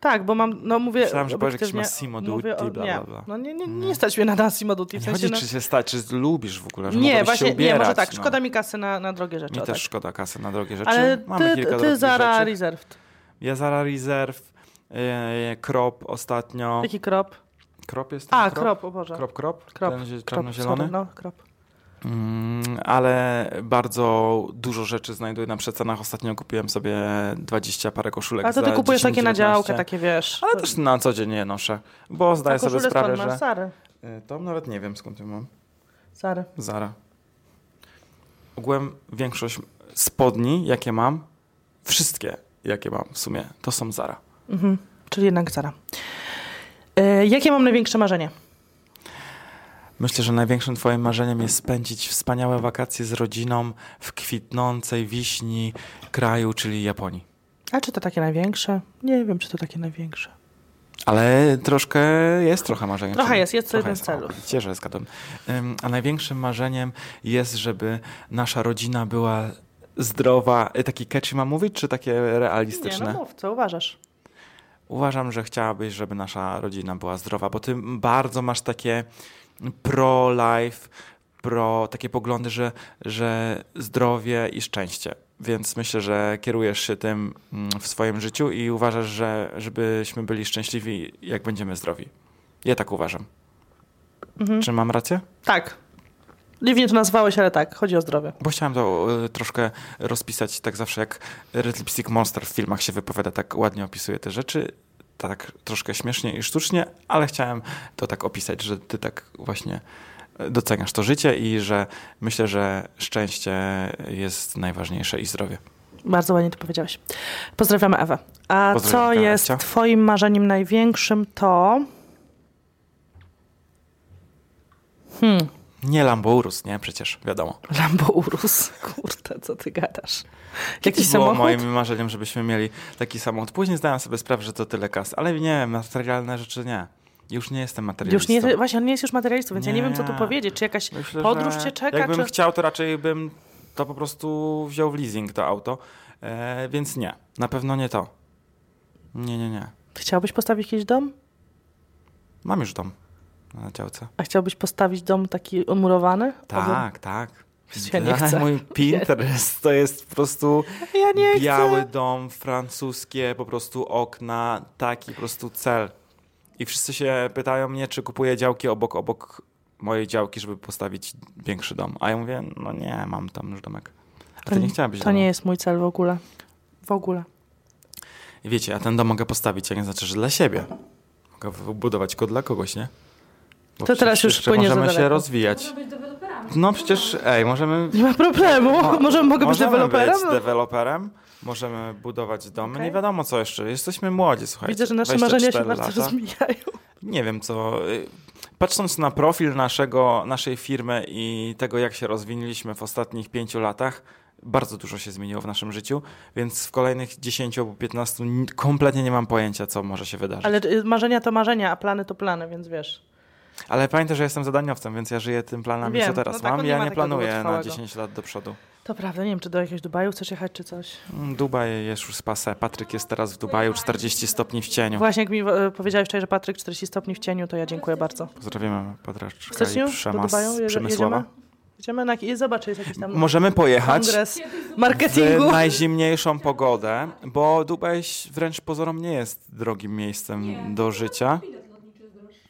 Speaker 1: Tak, bo mam, no mówię...
Speaker 2: Myślałem, że powiesz, jak
Speaker 1: obiektywnie-
Speaker 2: się masz Simo
Speaker 1: mówię
Speaker 2: Duty,
Speaker 1: o-
Speaker 2: bla,
Speaker 1: nie.
Speaker 2: bla, bla.
Speaker 1: No nie, nie, nie,
Speaker 2: Nie.
Speaker 1: stać mnie na Dancy Moduti. W
Speaker 2: nie
Speaker 1: sensie,
Speaker 2: chodzi,
Speaker 1: no,
Speaker 2: czy się stać, czy lubisz w ogóle, że
Speaker 1: nie,
Speaker 2: mogłabyś
Speaker 1: właśnie,
Speaker 2: się ubierać.
Speaker 1: nie, może tak.
Speaker 2: no.
Speaker 1: Szkoda mi kasy na, na drogie rzeczy.
Speaker 2: Mi
Speaker 1: o
Speaker 2: też
Speaker 1: tak.
Speaker 2: szkoda kasy na drogie rzeczy.
Speaker 1: Ale
Speaker 2: Mamy
Speaker 1: ty,
Speaker 2: kilka
Speaker 1: ty
Speaker 2: drogich
Speaker 1: Zara
Speaker 2: rzeczy.
Speaker 1: Reserved.
Speaker 2: Ja Zara Reserve, e, Krop ostatnio.
Speaker 1: Jaki krop?
Speaker 2: Krop jest ten
Speaker 1: A, krop, o Boże.
Speaker 2: Krop, krop?
Speaker 1: Krop,
Speaker 2: Ten zie-
Speaker 1: Krop,
Speaker 2: czarnozielony?
Speaker 1: sorry, no, krop.
Speaker 2: Mm, ale bardzo dużo rzeczy znajduję na przecenach. Ostatnio kupiłem sobie 20 parę koszulek
Speaker 1: A to ty
Speaker 2: za
Speaker 1: kupujesz
Speaker 2: 10,
Speaker 1: takie na
Speaker 2: 19.
Speaker 1: działkę, takie wiesz. tak
Speaker 2: Ale też na co dzień je noszę, bo
Speaker 1: Ta
Speaker 2: zdaję sobie
Speaker 1: koszulę
Speaker 2: sprawę,
Speaker 1: skąd masz? tak.
Speaker 2: że...
Speaker 1: Sary.
Speaker 2: E, Tom nawet nie wiem skąd ją mam.
Speaker 1: Sary.
Speaker 2: Zara. Ogółem większość spodni, jakie mam, wszystkie, jakie mam w sumie, to są Zara.
Speaker 1: Mhm. Czyli jednak Sara. E, jakie mam największe marzenie?
Speaker 2: Myślę, że największym twoim marzeniem jest spędzić wspaniałe wakacje z rodziną w kwitnącej wiśni kraju, czyli Japonii.
Speaker 1: A czy to takie największe? Nie wiem, czy to takie największe.
Speaker 2: Ale troszkę jest trochę marzeniem.
Speaker 1: Trochę
Speaker 2: czyli-
Speaker 1: jest, jest to
Speaker 2: trochę
Speaker 1: jeden z celów.
Speaker 2: O, Widzicie, że zgadłem. Ym, A największym marzeniem jest, żeby nasza rodzina była zdrowa. Y, Taki catchy mam mówić, czy takie realistyczne?
Speaker 1: Nie, no mów, co uważasz?
Speaker 2: Uważam, że chciałabyś, żeby nasza rodzina była zdrowa, bo ty bardzo masz takie pro-life, pro takie poglądy, że, że zdrowie i szczęście. Więc myślę, że kierujesz się tym mm, w swoim życiu i uważasz, że żebyśmy byli szczęśliwi, jak będziemy zdrowi. Ja tak uważam.
Speaker 1: Mhm.
Speaker 2: Czy mam rację?
Speaker 1: Tak. Dziwnie to nazwałeś, ale tak, chodzi o zdrowie.
Speaker 2: Bo chciałem to y, troszkę rozpisać tak zawsze, jak Red Lipstick Monster w filmach się wypowiada, tak ładnie opisuje te rzeczy, tak troszkę śmiesznie i sztucznie, ale chciałem to tak opisać, że ty tak właśnie y, doceniasz to życie i że myślę, że szczęście jest najważniejsze i zdrowie.
Speaker 1: Bardzo ładnie to powiedziałeś. Pozdrawiamy Ewę. A
Speaker 2: Pozdrawiam,
Speaker 1: co
Speaker 2: Kasia.
Speaker 1: jest twoim marzeniem największym, to... Hmm,
Speaker 2: Nie Lambo Urus, nie? Przecież, wiadomo.
Speaker 1: Lambo Urus. Kurde, co ty gadasz? Jakiś
Speaker 2: Kiedyś było
Speaker 1: samochód?
Speaker 2: moim marzeniem, żebyśmy mieli taki samochód. Później zdałem sobie sprawę, że to tyle kas, ale nie, materialne rzeczy nie. Już nie jestem materialistą.
Speaker 1: Już nie, właśnie, on nie jest już materialistą, więc ja nie wiem, co tu
Speaker 2: Nie.
Speaker 1: powiedzieć. Czy jakaś
Speaker 2: Myślę,
Speaker 1: podróż
Speaker 2: że
Speaker 1: cię czeka?
Speaker 2: Jakbym
Speaker 1: czy...
Speaker 2: chciał, to raczej bym to po prostu wziął w leasing, to auto. E, więc nie, na pewno nie to. Nie, nie, nie.
Speaker 1: Chciałbyś postawić jakiś dom?
Speaker 2: Mam już dom na działce.
Speaker 1: A chciałbyś postawić dom taki odmurowany? Obym-
Speaker 2: Tak, tak.
Speaker 1: Ja nie chcę.
Speaker 2: Mój Pinterest to jest po prostu
Speaker 1: Ja nie
Speaker 2: biały
Speaker 1: chcę.
Speaker 2: dom, francuskie po prostu okna, taki po prostu cel. I wszyscy się pytają mnie, czy kupuję działki obok, obok mojej działki, żeby postawić większy dom. A ja mówię, no nie, mam tam już domek. A ty nie chciałabyś
Speaker 1: To
Speaker 2: domu.
Speaker 1: nie jest mój cel w ogóle. W ogóle.
Speaker 2: I Wiecie, ja ten dom mogę postawić, a nie znaczy, że dla siebie. Mogę wybudować go dla kogoś, nie? Bo
Speaker 1: To
Speaker 2: przecież
Speaker 1: teraz już
Speaker 2: jeszcze
Speaker 1: płynie za
Speaker 2: możemy się
Speaker 1: daleko.
Speaker 2: rozwijać.
Speaker 3: Może być deweloperami.
Speaker 2: No przecież, ej,
Speaker 1: *laughs*
Speaker 2: możemy...
Speaker 1: Nie ma problemu. *laughs* Może mogę być
Speaker 2: możemy
Speaker 1: deweloperem?
Speaker 2: Być deweloperem. Możemy budować domy,
Speaker 1: Okej.
Speaker 2: nie wiadomo co jeszcze. Jesteśmy młodzi, słuchajcie.
Speaker 1: Widzę, że nasze
Speaker 2: 24
Speaker 1: marzenia się
Speaker 2: lata.
Speaker 1: bardzo rozmijają.
Speaker 2: Nie wiem co. y, Patrząc na profil naszego, naszej firmy i tego, jak się rozwinęliśmy w ostatnich pięciu latach, bardzo dużo się zmieniło w naszym życiu, więc w kolejnych 10 albo 15 n- kompletnie nie mam pojęcia, co może się wydarzyć. Ale,
Speaker 1: Ale y, marzenia to marzenia, a plany to plany, więc wiesz.
Speaker 2: pamiętaj, że jestem zadaniowcem, więc ja żyję tym planami,
Speaker 1: Wiem,
Speaker 2: co teraz
Speaker 1: no tak, on
Speaker 2: mam.
Speaker 1: nie
Speaker 2: Ja
Speaker 1: ma
Speaker 2: nie
Speaker 1: takiego
Speaker 2: planuję na
Speaker 1: długotrwałego.
Speaker 2: 10 lat do przodu.
Speaker 1: To prawda, nie wiem, czy do jakiegoś Dubaju chcesz jechać, czy coś.
Speaker 2: Mm, Dubaj jest już z pase. Patryk jest teraz w Dubaju, 40 stopni w cieniu.
Speaker 1: Właśnie jak mi e, powiedziałeś wczoraj, że Patryk 40 stopni w cieniu, to ja dziękuję bardzo.
Speaker 2: Pozdrawiamy Patryczka
Speaker 1: Chcesz
Speaker 2: i
Speaker 1: już do
Speaker 2: Przema
Speaker 1: Dubaju?
Speaker 2: z
Speaker 1: Jedzie-
Speaker 2: Przemysłowa.
Speaker 1: Jedziemy? Jedziemy na... I zobacz, czy jest jakiś tam
Speaker 2: Możemy pojechać.
Speaker 1: kongres
Speaker 2: w
Speaker 1: marketingu.
Speaker 2: najzimniejszą pogodę, bo Dubaj ś- wręcz pozorom nie jest drogim miejscem do życia.
Speaker 3: Bilet lotniczy jest droższy.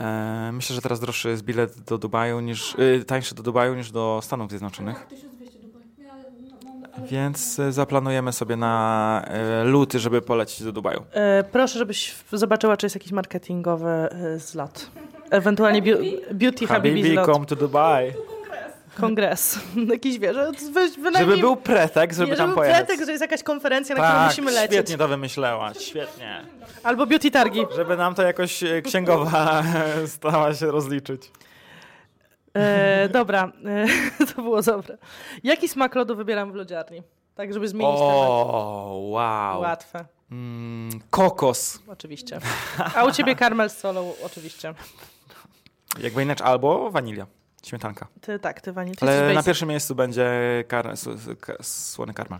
Speaker 2: E, myślę, że teraz droższy jest bilet do Dubaju niż y, tańszy do Dubaju niż do Stanów Zjednoczonych.
Speaker 3: Tak, 1200 Dubaj. Ja, no, mam, ale-
Speaker 2: Więc y, zaplanujemy sobie na y, luty, żeby polecieć do Dubaju.
Speaker 1: E, proszę, żebyś w- zobaczyła, czy jest jakiś marketingowy e, zlot. Ewentualnie biu- Beauty Habibi
Speaker 2: Habibi,
Speaker 1: zlot.
Speaker 2: come to Dubai.
Speaker 3: No,
Speaker 1: Kongres. *laughs* Jakiś, wiesz, wy, wynajmniej...
Speaker 2: Żeby był pretekst, żeby
Speaker 1: nie,
Speaker 2: tam
Speaker 1: żeby
Speaker 2: pojechać.
Speaker 1: pretekst, że jest jakaś konferencja, na którą
Speaker 2: tak,
Speaker 1: musimy lecieć.
Speaker 2: świetnie to wymyślałaś, świetnie.
Speaker 1: Albo beauty targi.
Speaker 2: Żeby nam to jakoś y, księgowa *laughs* stała się rozliczyć.
Speaker 1: E, dobra, e, *laughs* to było dobre. Jaki smak lodu wybieram w lodziarni? Tak, żeby zmienić temat.
Speaker 2: O, wow.
Speaker 1: Łatwe,
Speaker 2: Mm, kokos.
Speaker 1: oczywiście. A u ciebie karmel z solą, oczywiście.
Speaker 2: Jakby inaczej, albo wanilia. Śmietanka.
Speaker 1: Ty tak, ty Wani, ty
Speaker 2: Ale
Speaker 1: jesteś
Speaker 2: na
Speaker 1: basic.
Speaker 2: pierwszym miejscu będzie kar- s- s- ka- słony karmel.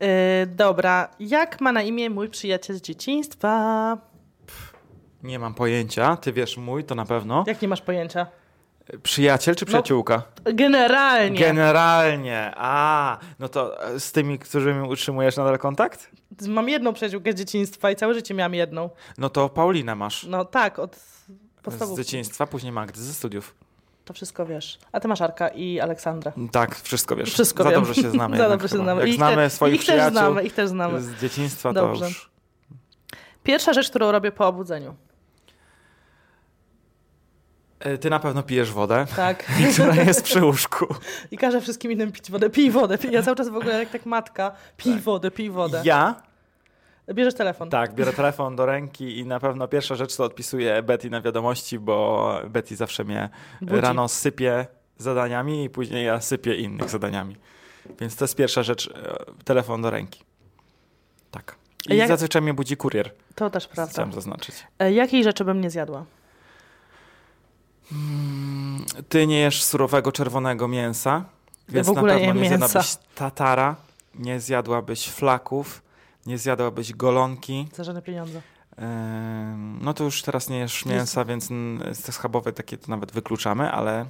Speaker 1: E, Dobra, jak ma na imię mój przyjaciel z dzieciństwa?
Speaker 2: Nie mam pojęcia. Ty wiesz mój, to na pewno.
Speaker 1: Jak nie masz pojęcia?
Speaker 2: Przyjaciel
Speaker 1: No,
Speaker 2: czy przyjaciółka?
Speaker 1: Generalnie.
Speaker 2: Generalnie. A, no to e, z tymi, którymi utrzymujesz nadal kontakt?
Speaker 1: Mam jedną przyjaciółkę z dzieciństwa i całe życie miałam jedną.
Speaker 2: No to Paulinę masz.
Speaker 1: No tak, od
Speaker 2: Z
Speaker 1: podstawówki.
Speaker 2: dzieciństwa, później Magdy, ze studiów.
Speaker 1: To wszystko wiesz. A ty masz Arka i Aleksandrę.
Speaker 2: Tak, wszystko wiesz.
Speaker 1: Wszystko
Speaker 2: Za
Speaker 1: wiem.
Speaker 2: dobrze się
Speaker 1: *laughs*
Speaker 2: znamy.
Speaker 1: Za
Speaker 2: jednak
Speaker 1: dobrze się
Speaker 2: chyba.
Speaker 1: znamy.
Speaker 2: Jak
Speaker 1: I ich
Speaker 2: znamy
Speaker 1: te-
Speaker 2: swoich
Speaker 1: ich też
Speaker 2: przyjaciół
Speaker 1: znamy, ich też znamy.
Speaker 2: z dzieciństwa,
Speaker 1: Dobrze.
Speaker 2: to już...
Speaker 1: Pierwsza rzecz, którą robię po obudzeniu.
Speaker 2: E, Ty na pewno pijesz wodę, *laughs*
Speaker 1: Tak.
Speaker 2: która jest przy łóżku.
Speaker 1: *laughs* I każę wszystkim innym pić wodę. Pij wodę. Pij. Ja cały czas w ogóle jak tak matka. Pij wodę, pij wodę.
Speaker 2: Ja
Speaker 1: Bierzesz telefon.
Speaker 2: tak, biorę telefon do ręki i na pewno pierwsza rzecz to odpisuję Betty na wiadomości, bo Betty zawsze mnie
Speaker 1: Budzi.
Speaker 2: rano sypie zadaniami i później ja sypię innych zadaniami. Więc to jest pierwsza rzecz, e, telefon do ręki. Tak. I
Speaker 1: A jak-
Speaker 2: zazwyczaj mnie budzi kurier,
Speaker 1: To też prawda.
Speaker 2: chciałem zaznaczyć.
Speaker 1: E, Jakiej rzeczy bym nie zjadła?
Speaker 2: Mm, Ty nie jesz surowego czerwonego mięsa, więc
Speaker 1: w ogóle
Speaker 2: na pewno
Speaker 1: nie
Speaker 2: nie
Speaker 1: mięsa.
Speaker 2: zjadłabyś tatara, nie zjadłabyś flaków, nie zjadłabyś golonki.
Speaker 1: Za żadne pieniądze.
Speaker 2: Ym, No to już teraz nie jesz
Speaker 1: Nie
Speaker 2: mięsa, więc mm, te schabowe takie to nawet wykluczamy, ale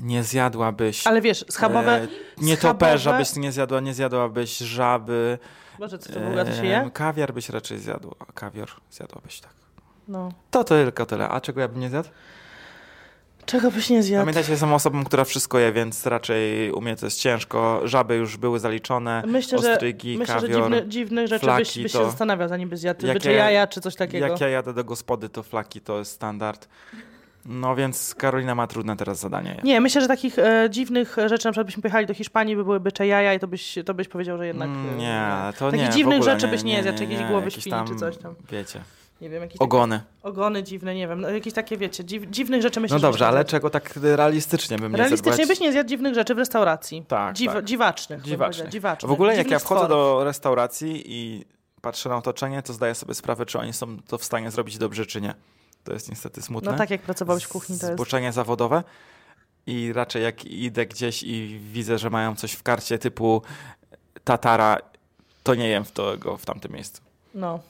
Speaker 2: nie zjadłabyś.
Speaker 1: Ale wiesz, schabowe...
Speaker 2: e, nietoperza
Speaker 1: schabowe-
Speaker 2: byś nie zjadła, nie zjadłabyś żaby.
Speaker 1: Boże, co to w ogóle to się
Speaker 2: em,
Speaker 1: je?
Speaker 2: Kawiar byś raczej zjadła. Kawior zjadłabyś, tak.
Speaker 1: No.
Speaker 2: To tylko tyle. A czego ja bym nie zjadł?
Speaker 1: Czego byś nie zjadł?
Speaker 2: Pamiętajcie, jestem osobą, która wszystko je, więc raczej u mnie to jest ciężko. Żaby już były zaliczone,
Speaker 1: Myślę, że,
Speaker 2: ostrygi,
Speaker 1: myślę, że
Speaker 2: kawior.
Speaker 1: dziwne, dziwnych rzeczy byś,
Speaker 2: flaki
Speaker 1: byś się
Speaker 2: to-
Speaker 1: zastanawiał, zanim byś zjadł.
Speaker 2: Jak
Speaker 1: Bycie
Speaker 2: ja-
Speaker 1: jaja czy coś takiego.
Speaker 2: Jak ja jadę do gospody, to flaki to jest standard. No więc Karolina ma trudne teraz zadanie.
Speaker 1: Nie, myślę, że takich e, dziwnych rzeczy, na przykład byśmy pojechali do Hiszpanii, by były bycze jaja i to byś, to byś powiedział, że jednak... e,
Speaker 2: Mm, nie, to
Speaker 1: Takich
Speaker 2: nie. w
Speaker 1: dziwnych
Speaker 2: ogóle
Speaker 1: rzeczy byś nie zjadł, jakiejś głowy
Speaker 2: jakieś
Speaker 1: świni czy coś tam.
Speaker 2: Wiecie,
Speaker 1: Nie wiem, jakieś
Speaker 2: ogony.
Speaker 1: takie ogony dziwne, nie wiem, no, jakieś takie, wiecie, dziw, dziwnych rzeczy myślę,
Speaker 2: No
Speaker 1: że
Speaker 2: dobrze,
Speaker 1: byś
Speaker 2: ale
Speaker 1: nie zjadł.
Speaker 2: czego tak realistycznie bym nie
Speaker 1: Realistycznie
Speaker 2: zjadł?
Speaker 1: byś nie zjadł dziwnych rzeczy w restauracji.
Speaker 2: Tak,
Speaker 1: Dziw,
Speaker 2: tak.
Speaker 1: Dziwacznych. bym
Speaker 2: Dziwacznych.
Speaker 1: powiedziała, dziwacznych.
Speaker 2: W ogóle jak
Speaker 1: Dziwnych
Speaker 2: ja wchodzę
Speaker 1: stworów.
Speaker 2: do restauracji i patrzę na otoczenie, to zdaję sobie sprawę, czy oni są to w stanie zrobić dobrze, czy nie. To jest niestety smutne.
Speaker 1: No tak jak pracowałeś w kuchni, to jest...
Speaker 2: Zboczenie zawodowe. I raczej jak idę gdzieś i widzę, że mają coś w karcie typu tatara, to nie jem w to go w tamtym miejscu.
Speaker 1: No,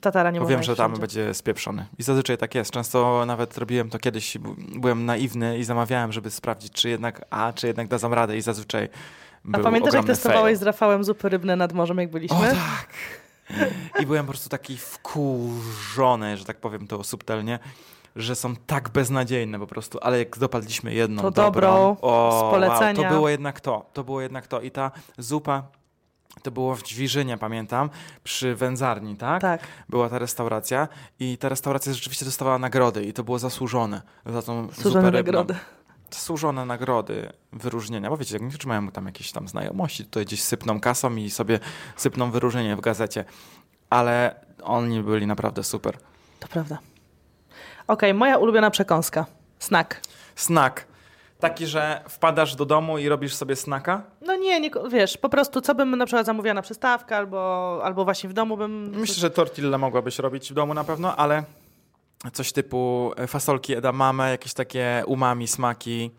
Speaker 1: tatara nie
Speaker 2: Bo
Speaker 1: można
Speaker 2: wiem,
Speaker 1: jeść
Speaker 2: że tam
Speaker 1: wszędzie.
Speaker 2: będzie spieprzony. I zazwyczaj tak jest. Często nawet robiłem to kiedyś, b- byłem naiwny i zamawiałem, żeby sprawdzić, czy jednak, a czy jednak dadzą radę i zazwyczaj
Speaker 1: A
Speaker 2: był
Speaker 1: pamiętasz, jak
Speaker 2: ogromny
Speaker 1: testowałeś
Speaker 2: fail.
Speaker 1: z Rafałem zupy rybne nad morzem, jak byliśmy?
Speaker 2: O tak! I byłem po prostu taki wkurzony, że tak powiem to subtelnie, że są tak beznadziejne po prostu, ale jak dopadliśmy jedną
Speaker 1: To
Speaker 2: dobrą,
Speaker 1: dobrą,
Speaker 2: o,
Speaker 1: z polecenia.
Speaker 2: Wow, to było jednak to, to było jednak to i ta zupa to było w Dźwirzynie, pamiętam, przy wędzarni, tak?
Speaker 1: tak.
Speaker 2: Była ta restauracja i ta restauracja rzeczywiście dostawała nagrody i to było zasłużone za tą
Speaker 1: Służone
Speaker 2: zupę rybną.
Speaker 1: nagrody.
Speaker 2: Zasłużone nagrody, wyróżnienia, bo wiecie, niektórzy mają tam jakieś tam znajomości, tutaj gdzieś sypną kasą i sobie sypną wyróżnienie w gazecie, ale oni byli naprawdę super.
Speaker 1: To prawda. Okej, moja ulubiona przekąska. Snack.
Speaker 2: Snack. Taki, że wpadasz do domu i robisz sobie snaka?
Speaker 1: No nie, nie, ko- wiesz, po prostu co bym na przykład zamówiła na przystawkę albo, albo właśnie w domu bym...
Speaker 2: Myślę, że tortilla mogłabyś robić w domu na pewno, ale coś typu e, fasolki edamame, jakieś takie umami, smaki.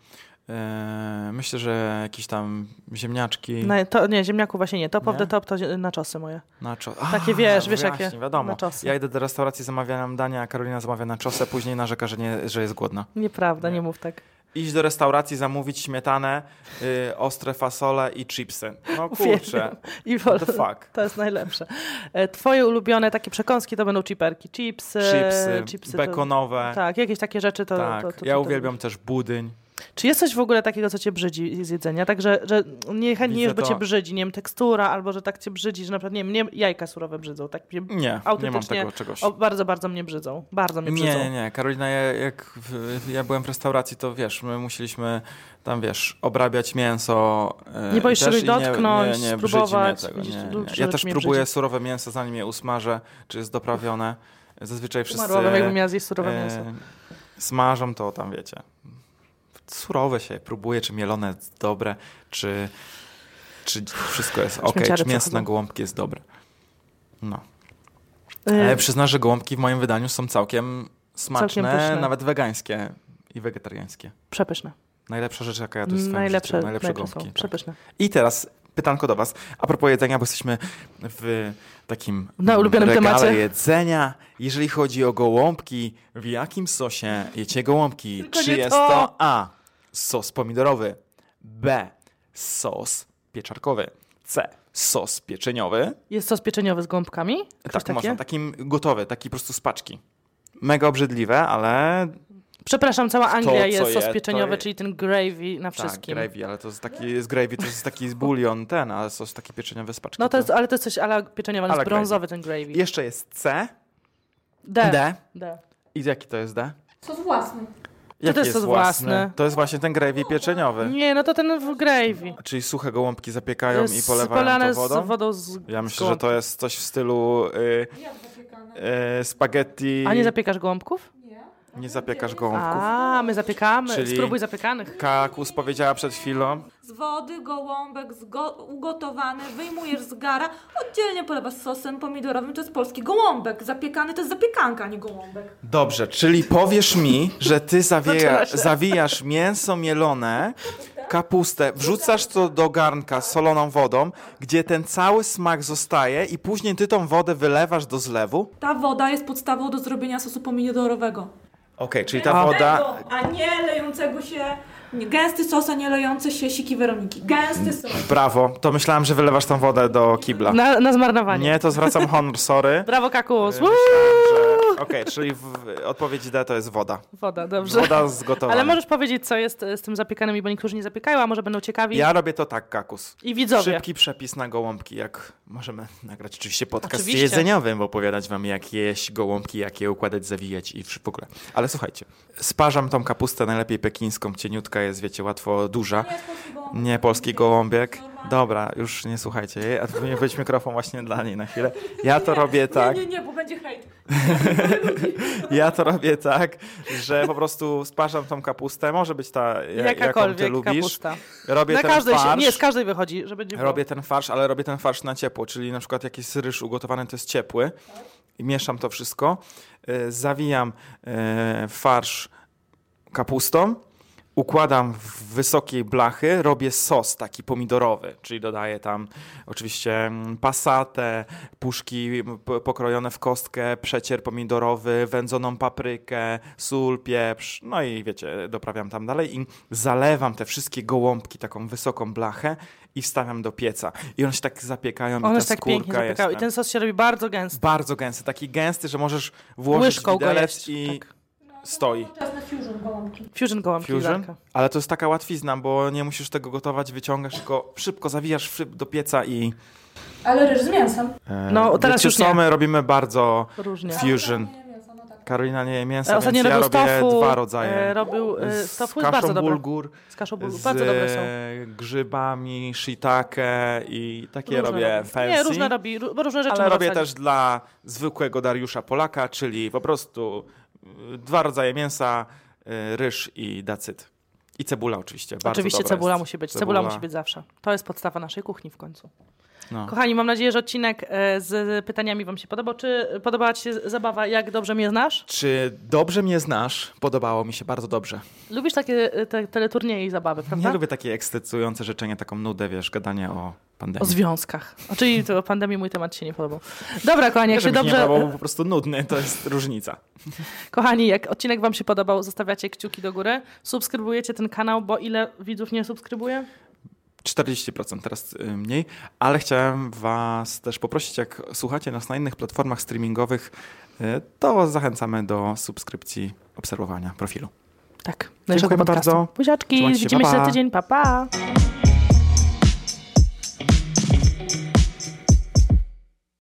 Speaker 2: Yy, myślę, że jakieś tam ziemniaczki.
Speaker 1: No, to, nie, ziemniaku właśnie nie. Top of
Speaker 2: Nie?
Speaker 1: the top to zie- na czosy moje.
Speaker 2: Nacho.
Speaker 1: Takie
Speaker 2: A,
Speaker 1: wiesz, wiesz,
Speaker 2: wyjaśnij,
Speaker 1: jakie
Speaker 2: wiadomo.
Speaker 1: nachosy.
Speaker 2: Ja idę do restauracji, zamawiam dania, a Karolina zamawia na czosę, później narzeka, że, nie, że jest głodna.
Speaker 1: Nieprawda,
Speaker 2: Nie.
Speaker 1: nie mów tak.
Speaker 2: Iść do restauracji, zamówić śmietanę, yy, ostre fasole i chipsy.
Speaker 1: *laughs*
Speaker 2: No kurczę.
Speaker 1: I
Speaker 2: What the fuck?
Speaker 1: *laughs* To jest najlepsze. E, Twoje ulubione takie przekąski to będą chiperki. Chipsy,
Speaker 2: Chipsy,
Speaker 1: to-
Speaker 2: bekonowe.
Speaker 1: Tak, jakieś takie rzeczy to...
Speaker 2: tak,
Speaker 1: to, to, to
Speaker 2: ja
Speaker 1: to-
Speaker 2: uwielbiam też budyń.
Speaker 1: Czy jest coś w ogóle takiego, co cię brzydzi z jedzenia? Także, że niechętnie
Speaker 2: Widzę
Speaker 1: już, bo
Speaker 2: to.
Speaker 1: cię brzydzi, nie wiem, tekstura, albo że tak cię brzydzi, że na przykład, nie wiem, nie, jajka surowe brzydzą. Tak mnie,
Speaker 2: Nie, nie mam
Speaker 1: Autentycznie
Speaker 2: tego czegoś.
Speaker 1: o, bardzo, bardzo mnie brzydzą. Bardzo mnie
Speaker 2: Nie,
Speaker 1: brzydzą.
Speaker 2: nie, nie. Karolina, ja, jak w, ja byłem w restauracji, to wiesz, my musieliśmy tam, wiesz, obrabiać mięso. e,
Speaker 1: Nie boisz
Speaker 2: i
Speaker 1: się
Speaker 2: też-
Speaker 1: czegoś
Speaker 2: i nie-
Speaker 1: dotknąć,
Speaker 2: nie, nie, brzydzi
Speaker 1: spróbować?
Speaker 2: mnie tego,
Speaker 1: Widzisz,
Speaker 2: nie,
Speaker 1: tu
Speaker 2: nie.
Speaker 1: dużo
Speaker 2: Ja
Speaker 1: rzeczy
Speaker 2: też
Speaker 1: mnie
Speaker 2: próbuję
Speaker 1: brzydzi.
Speaker 2: surowe mięso, zanim je usmażę, czy jest doprawione. Zazwyczaj wszyscy
Speaker 1: Umarłabym, jakbym miała zjeść surowe
Speaker 2: e,
Speaker 1: mięso.
Speaker 2: smażą to tam, wiecie. Surowe się próbuje, czy mielone jest dobre, czy, czy wszystko jest ok,
Speaker 1: Śmieciary
Speaker 2: czy mięso na
Speaker 1: przychodzą.
Speaker 2: gołąbki jest dobre. No.
Speaker 1: E,
Speaker 2: Ale przyznam, że gołąbki w moim wydaniu są całkiem smaczne,
Speaker 1: pyszne.
Speaker 2: nawet wegańskie i wegetariańskie.
Speaker 1: Najlepsze,
Speaker 2: Najlepsza rzecz, jaka ja tu w swoim
Speaker 1: najlepsze,
Speaker 2: życiu. Najlepsze
Speaker 1: są,
Speaker 2: gołąbki. Tak.
Speaker 1: przepyszne.
Speaker 2: I teraz pytanko do was. A propos jedzenia, bo jesteśmy w takim
Speaker 1: Na
Speaker 2: mm,
Speaker 1: ulubionym
Speaker 2: regale
Speaker 1: temacie.
Speaker 2: jedzenia. Jeżeli chodzi o gołąbki, w jakim sosie jecie gołąbki?
Speaker 1: Tylko
Speaker 2: Czy
Speaker 1: nie
Speaker 2: jest
Speaker 1: to.
Speaker 2: to A. Sos pomidorowy B. Sos pieczarkowy C. Sos pieczeniowy
Speaker 1: Jest sos pieczeniowy z gąbkami? Ktoś
Speaker 2: tak,
Speaker 1: takie?
Speaker 2: można, takim gotowy, taki po prostu z paczki. Mega obrzydliwe, ale tak,
Speaker 1: Przepraszam, cała Anglia
Speaker 2: co
Speaker 1: jest sos
Speaker 2: je, to
Speaker 1: pieczeniowy,
Speaker 2: je-
Speaker 1: czyli ten gravy na wszystkim.
Speaker 2: tak, gravy, ale to jest taki, z gravy to jest taki bulion ten, ale sos taki pieczeniowy z paczki.
Speaker 1: No to jest, ale to jest coś ala pieczeniowa, ale
Speaker 2: Ala
Speaker 1: jest
Speaker 2: gravy.
Speaker 1: brązowy ten gravy.
Speaker 2: Jeszcze jest C,
Speaker 1: D.
Speaker 2: D.
Speaker 1: D.
Speaker 2: I jaki to jest D?
Speaker 3: Sos własny.
Speaker 2: Jaki
Speaker 1: to jest sos własny?
Speaker 2: To jest właśnie ten gravy pieczeniowy.
Speaker 1: Nie, no to ten w gravy.
Speaker 2: Czyli suche gołąbki zapiekają i
Speaker 1: Jest
Speaker 2: polewają
Speaker 1: polane
Speaker 2: to wodą.
Speaker 1: z wodą z
Speaker 2: Ja myślę,
Speaker 1: z
Speaker 2: że to jest coś w stylu y,
Speaker 3: Jak zapiekane?
Speaker 2: y, spaghetti.
Speaker 1: A nie zapiekasz gołąbków?
Speaker 3: Nie.
Speaker 2: Nie zapiekasz gołąbków.
Speaker 1: A, my zapiekamy.
Speaker 2: Czyli-
Speaker 1: Spróbuj zapiekanych.
Speaker 2: Kakus powiedziała przed chwilą.
Speaker 3: Z wody gołąbek zgo- ugotowany, wyjmujesz z gara, oddzielnie polewasz sosem pomidorowym, to jest polski gołąbek. Zapiekany to jest zapiekanka, a nie gołąbek.
Speaker 2: Dobrze, czyli powiesz mi, że ty zawija,
Speaker 1: Zaczyna się.
Speaker 2: zawijasz mięso mielone, kapustę, wrzucasz to do garnka z soloną wodą, gdzie ten cały smak zostaje i później ty tą wodę wylewasz do zlewu.
Speaker 3: Ta woda jest podstawą do zrobienia sosu pomidorowego.
Speaker 1: No.
Speaker 2: Okej, czyli ta woda...
Speaker 3: A nie lejącego się Gęsty sos, a nie lejące się siki Weroniki. Gęsty sos.
Speaker 2: Brawo, to myślałem, że wylewasz tą wodę do kibla.
Speaker 1: Na, na zmarnowanie.
Speaker 2: Nie, to zwracam honor, sorry.
Speaker 1: Brawo, kakus. Uuu!
Speaker 2: Myślałem, że- Okej, czyli w, odpowiedź D to jest woda.
Speaker 1: Woda, dobrze.
Speaker 2: Woda z gotowaniem.
Speaker 1: Ale możesz powiedzieć, co jest e, z tym zapiekanym, bo niektórzy nie zapiekają, a może będą ciekawi
Speaker 2: Ja robię to tak, kakus.
Speaker 1: i widzowie.
Speaker 2: Szybki przepis na gołąbki, jak możemy nagrać oczywiście podcast
Speaker 1: Oczywiście.
Speaker 2: jedzeniowym, opowiadać wam jak jeść gołąbki, jak je układać, zawijać i w w ogóle. Ale słuchajcie, sparzam tą kapustę, najlepiej pekińską, cieniutka jest, wiecie, łatwo duża.
Speaker 3: Nie, polski gołąbek.
Speaker 2: Nie polski gołąbek.
Speaker 3: Normalny.
Speaker 2: Dobra, już nie słuchajcie jej, a to powinien być mikrofon właśnie dla niej na chwilę. Ja to robię tak.
Speaker 3: Nie, nie, nie, bo będzie hejt.
Speaker 2: Ja to robię tak, że po prostu sparzam tą kapustę. Może być ta, ja- jaką ty
Speaker 1: Jakakolwiek
Speaker 2: lubisz.
Speaker 1: kapusta.
Speaker 2: Robię
Speaker 1: Na
Speaker 2: ten
Speaker 1: każdej się,
Speaker 2: farsz.
Speaker 1: nie, z każdej wychodzi, żeby nie było.
Speaker 2: Robię ten farsz, ale robię ten farsz na ciepło, czyli na przykład jakiś ryż ugotowany to jest ciepły i mieszam to wszystko. E, Zawijam e, farsz kapustą, układam w wysokiej blachy, robię sos taki pomidorowy, czyli dodaję tam oczywiście mm, pasatę, puszki p- pokrojone w kostkę, przecier pomidorowy, wędzoną paprykę, sól, pieprz, no i wiecie, doprawiam tam dalej i zalewam te wszystkie gołąbki taką wysoką blachę i wstawiam do pieca. I one się tak zapiekają i
Speaker 1: One
Speaker 2: ta
Speaker 1: się tak pięknie
Speaker 2: skórka jest
Speaker 1: zapiekały. I ten sos się robi bardzo gęsty.
Speaker 2: bardzo gęsty, taki gęsty, że możesz włożyć
Speaker 1: Łyżką go
Speaker 2: widelec
Speaker 1: jeść.
Speaker 2: i
Speaker 1: Tak.
Speaker 2: stoi.
Speaker 3: Czas na fusion gołąbki.
Speaker 1: Fusion gołąbki.
Speaker 2: Fusion?
Speaker 1: Darka.
Speaker 2: Ale to jest taka łatwizna, bo nie musisz tego gotować, wyciągasz, tylko szybko zawijasz w szyb do pieca i.
Speaker 3: Ale ryż z mięsem.
Speaker 2: E,
Speaker 1: No, teraz
Speaker 2: wiecie
Speaker 1: już
Speaker 2: co,
Speaker 1: nie.
Speaker 2: my robimy bardzo
Speaker 1: Różnie.
Speaker 2: fusion.
Speaker 3: Nie, mięsa, no tak.
Speaker 2: Karolina nie je mięsa,
Speaker 1: E, Ostatnio
Speaker 2: więc ja
Speaker 1: robił
Speaker 2: robię
Speaker 1: z tofu.
Speaker 2: dwa rodzaje.
Speaker 1: e, Robił e,
Speaker 2: z
Speaker 1: z tofu, jest
Speaker 2: kaszą
Speaker 1: bardzo dobre.
Speaker 2: bulgur,
Speaker 1: Z kaszą bulgur,
Speaker 2: z
Speaker 1: bardzo dobre są.
Speaker 2: e, grzybami, shiitake i takie
Speaker 1: Różne
Speaker 2: robię
Speaker 1: robi.
Speaker 2: fancy.
Speaker 1: Nie, różne robi, ró- bo różne rzeczy
Speaker 2: Ale
Speaker 1: można
Speaker 2: robię
Speaker 1: wsadzić.
Speaker 2: też dla zwykłego Dariusza Polaka, czyli po prostu y, dwa rodzaje mięsa, y, ryż i dacyt. I cebula oczywiście. Bardzo
Speaker 1: Oczywiście
Speaker 2: dobra
Speaker 1: cebula
Speaker 2: jest.
Speaker 1: musi być, cebula musi być zawsze. To jest podstawa naszej kuchni w końcu.
Speaker 2: No.
Speaker 1: Kochani, mam nadzieję, że odcinek e, z pytaniami wam się podobał. Czy podobała ci się zabawa, jak dobrze mnie znasz?
Speaker 2: Czy dobrze mnie znasz? Podobało mi się bardzo dobrze.
Speaker 1: Lubisz takie e, te, teleturnieje i zabawy, prawda?
Speaker 2: Ja lubię takie ekscytujące życzenie, taką nudę, wiesz, gadanie o
Speaker 1: O
Speaker 2: pandemii.
Speaker 1: związkach. O, czyli to o pandemii mój temat się nie podobał. Dobra, kochani,
Speaker 2: Nie,
Speaker 1: jak się
Speaker 2: żeby się nie
Speaker 1: dobrze...
Speaker 2: było, bo po prostu nudny, to jest różnica.
Speaker 1: Kochani, jak odcinek wam się podobał, zostawiacie kciuki do góry, subskrybujecie ten kanał, bo ile widzów nie subskrybuje?
Speaker 2: 40% teraz y, mniej, ale chciałem Was też poprosić, jak słuchacie nas na innych platformach streamingowych, y, to zachęcamy do subskrypcji, obserwowania profilu.
Speaker 1: Tak.
Speaker 2: Dziękujemy
Speaker 1: naszego podcastu.
Speaker 2: bardzo.
Speaker 1: Buziaczki,
Speaker 2: Trzymajcie się,
Speaker 1: widzimy
Speaker 2: pa,
Speaker 1: się za
Speaker 2: pa.
Speaker 1: tydzień, pa pa!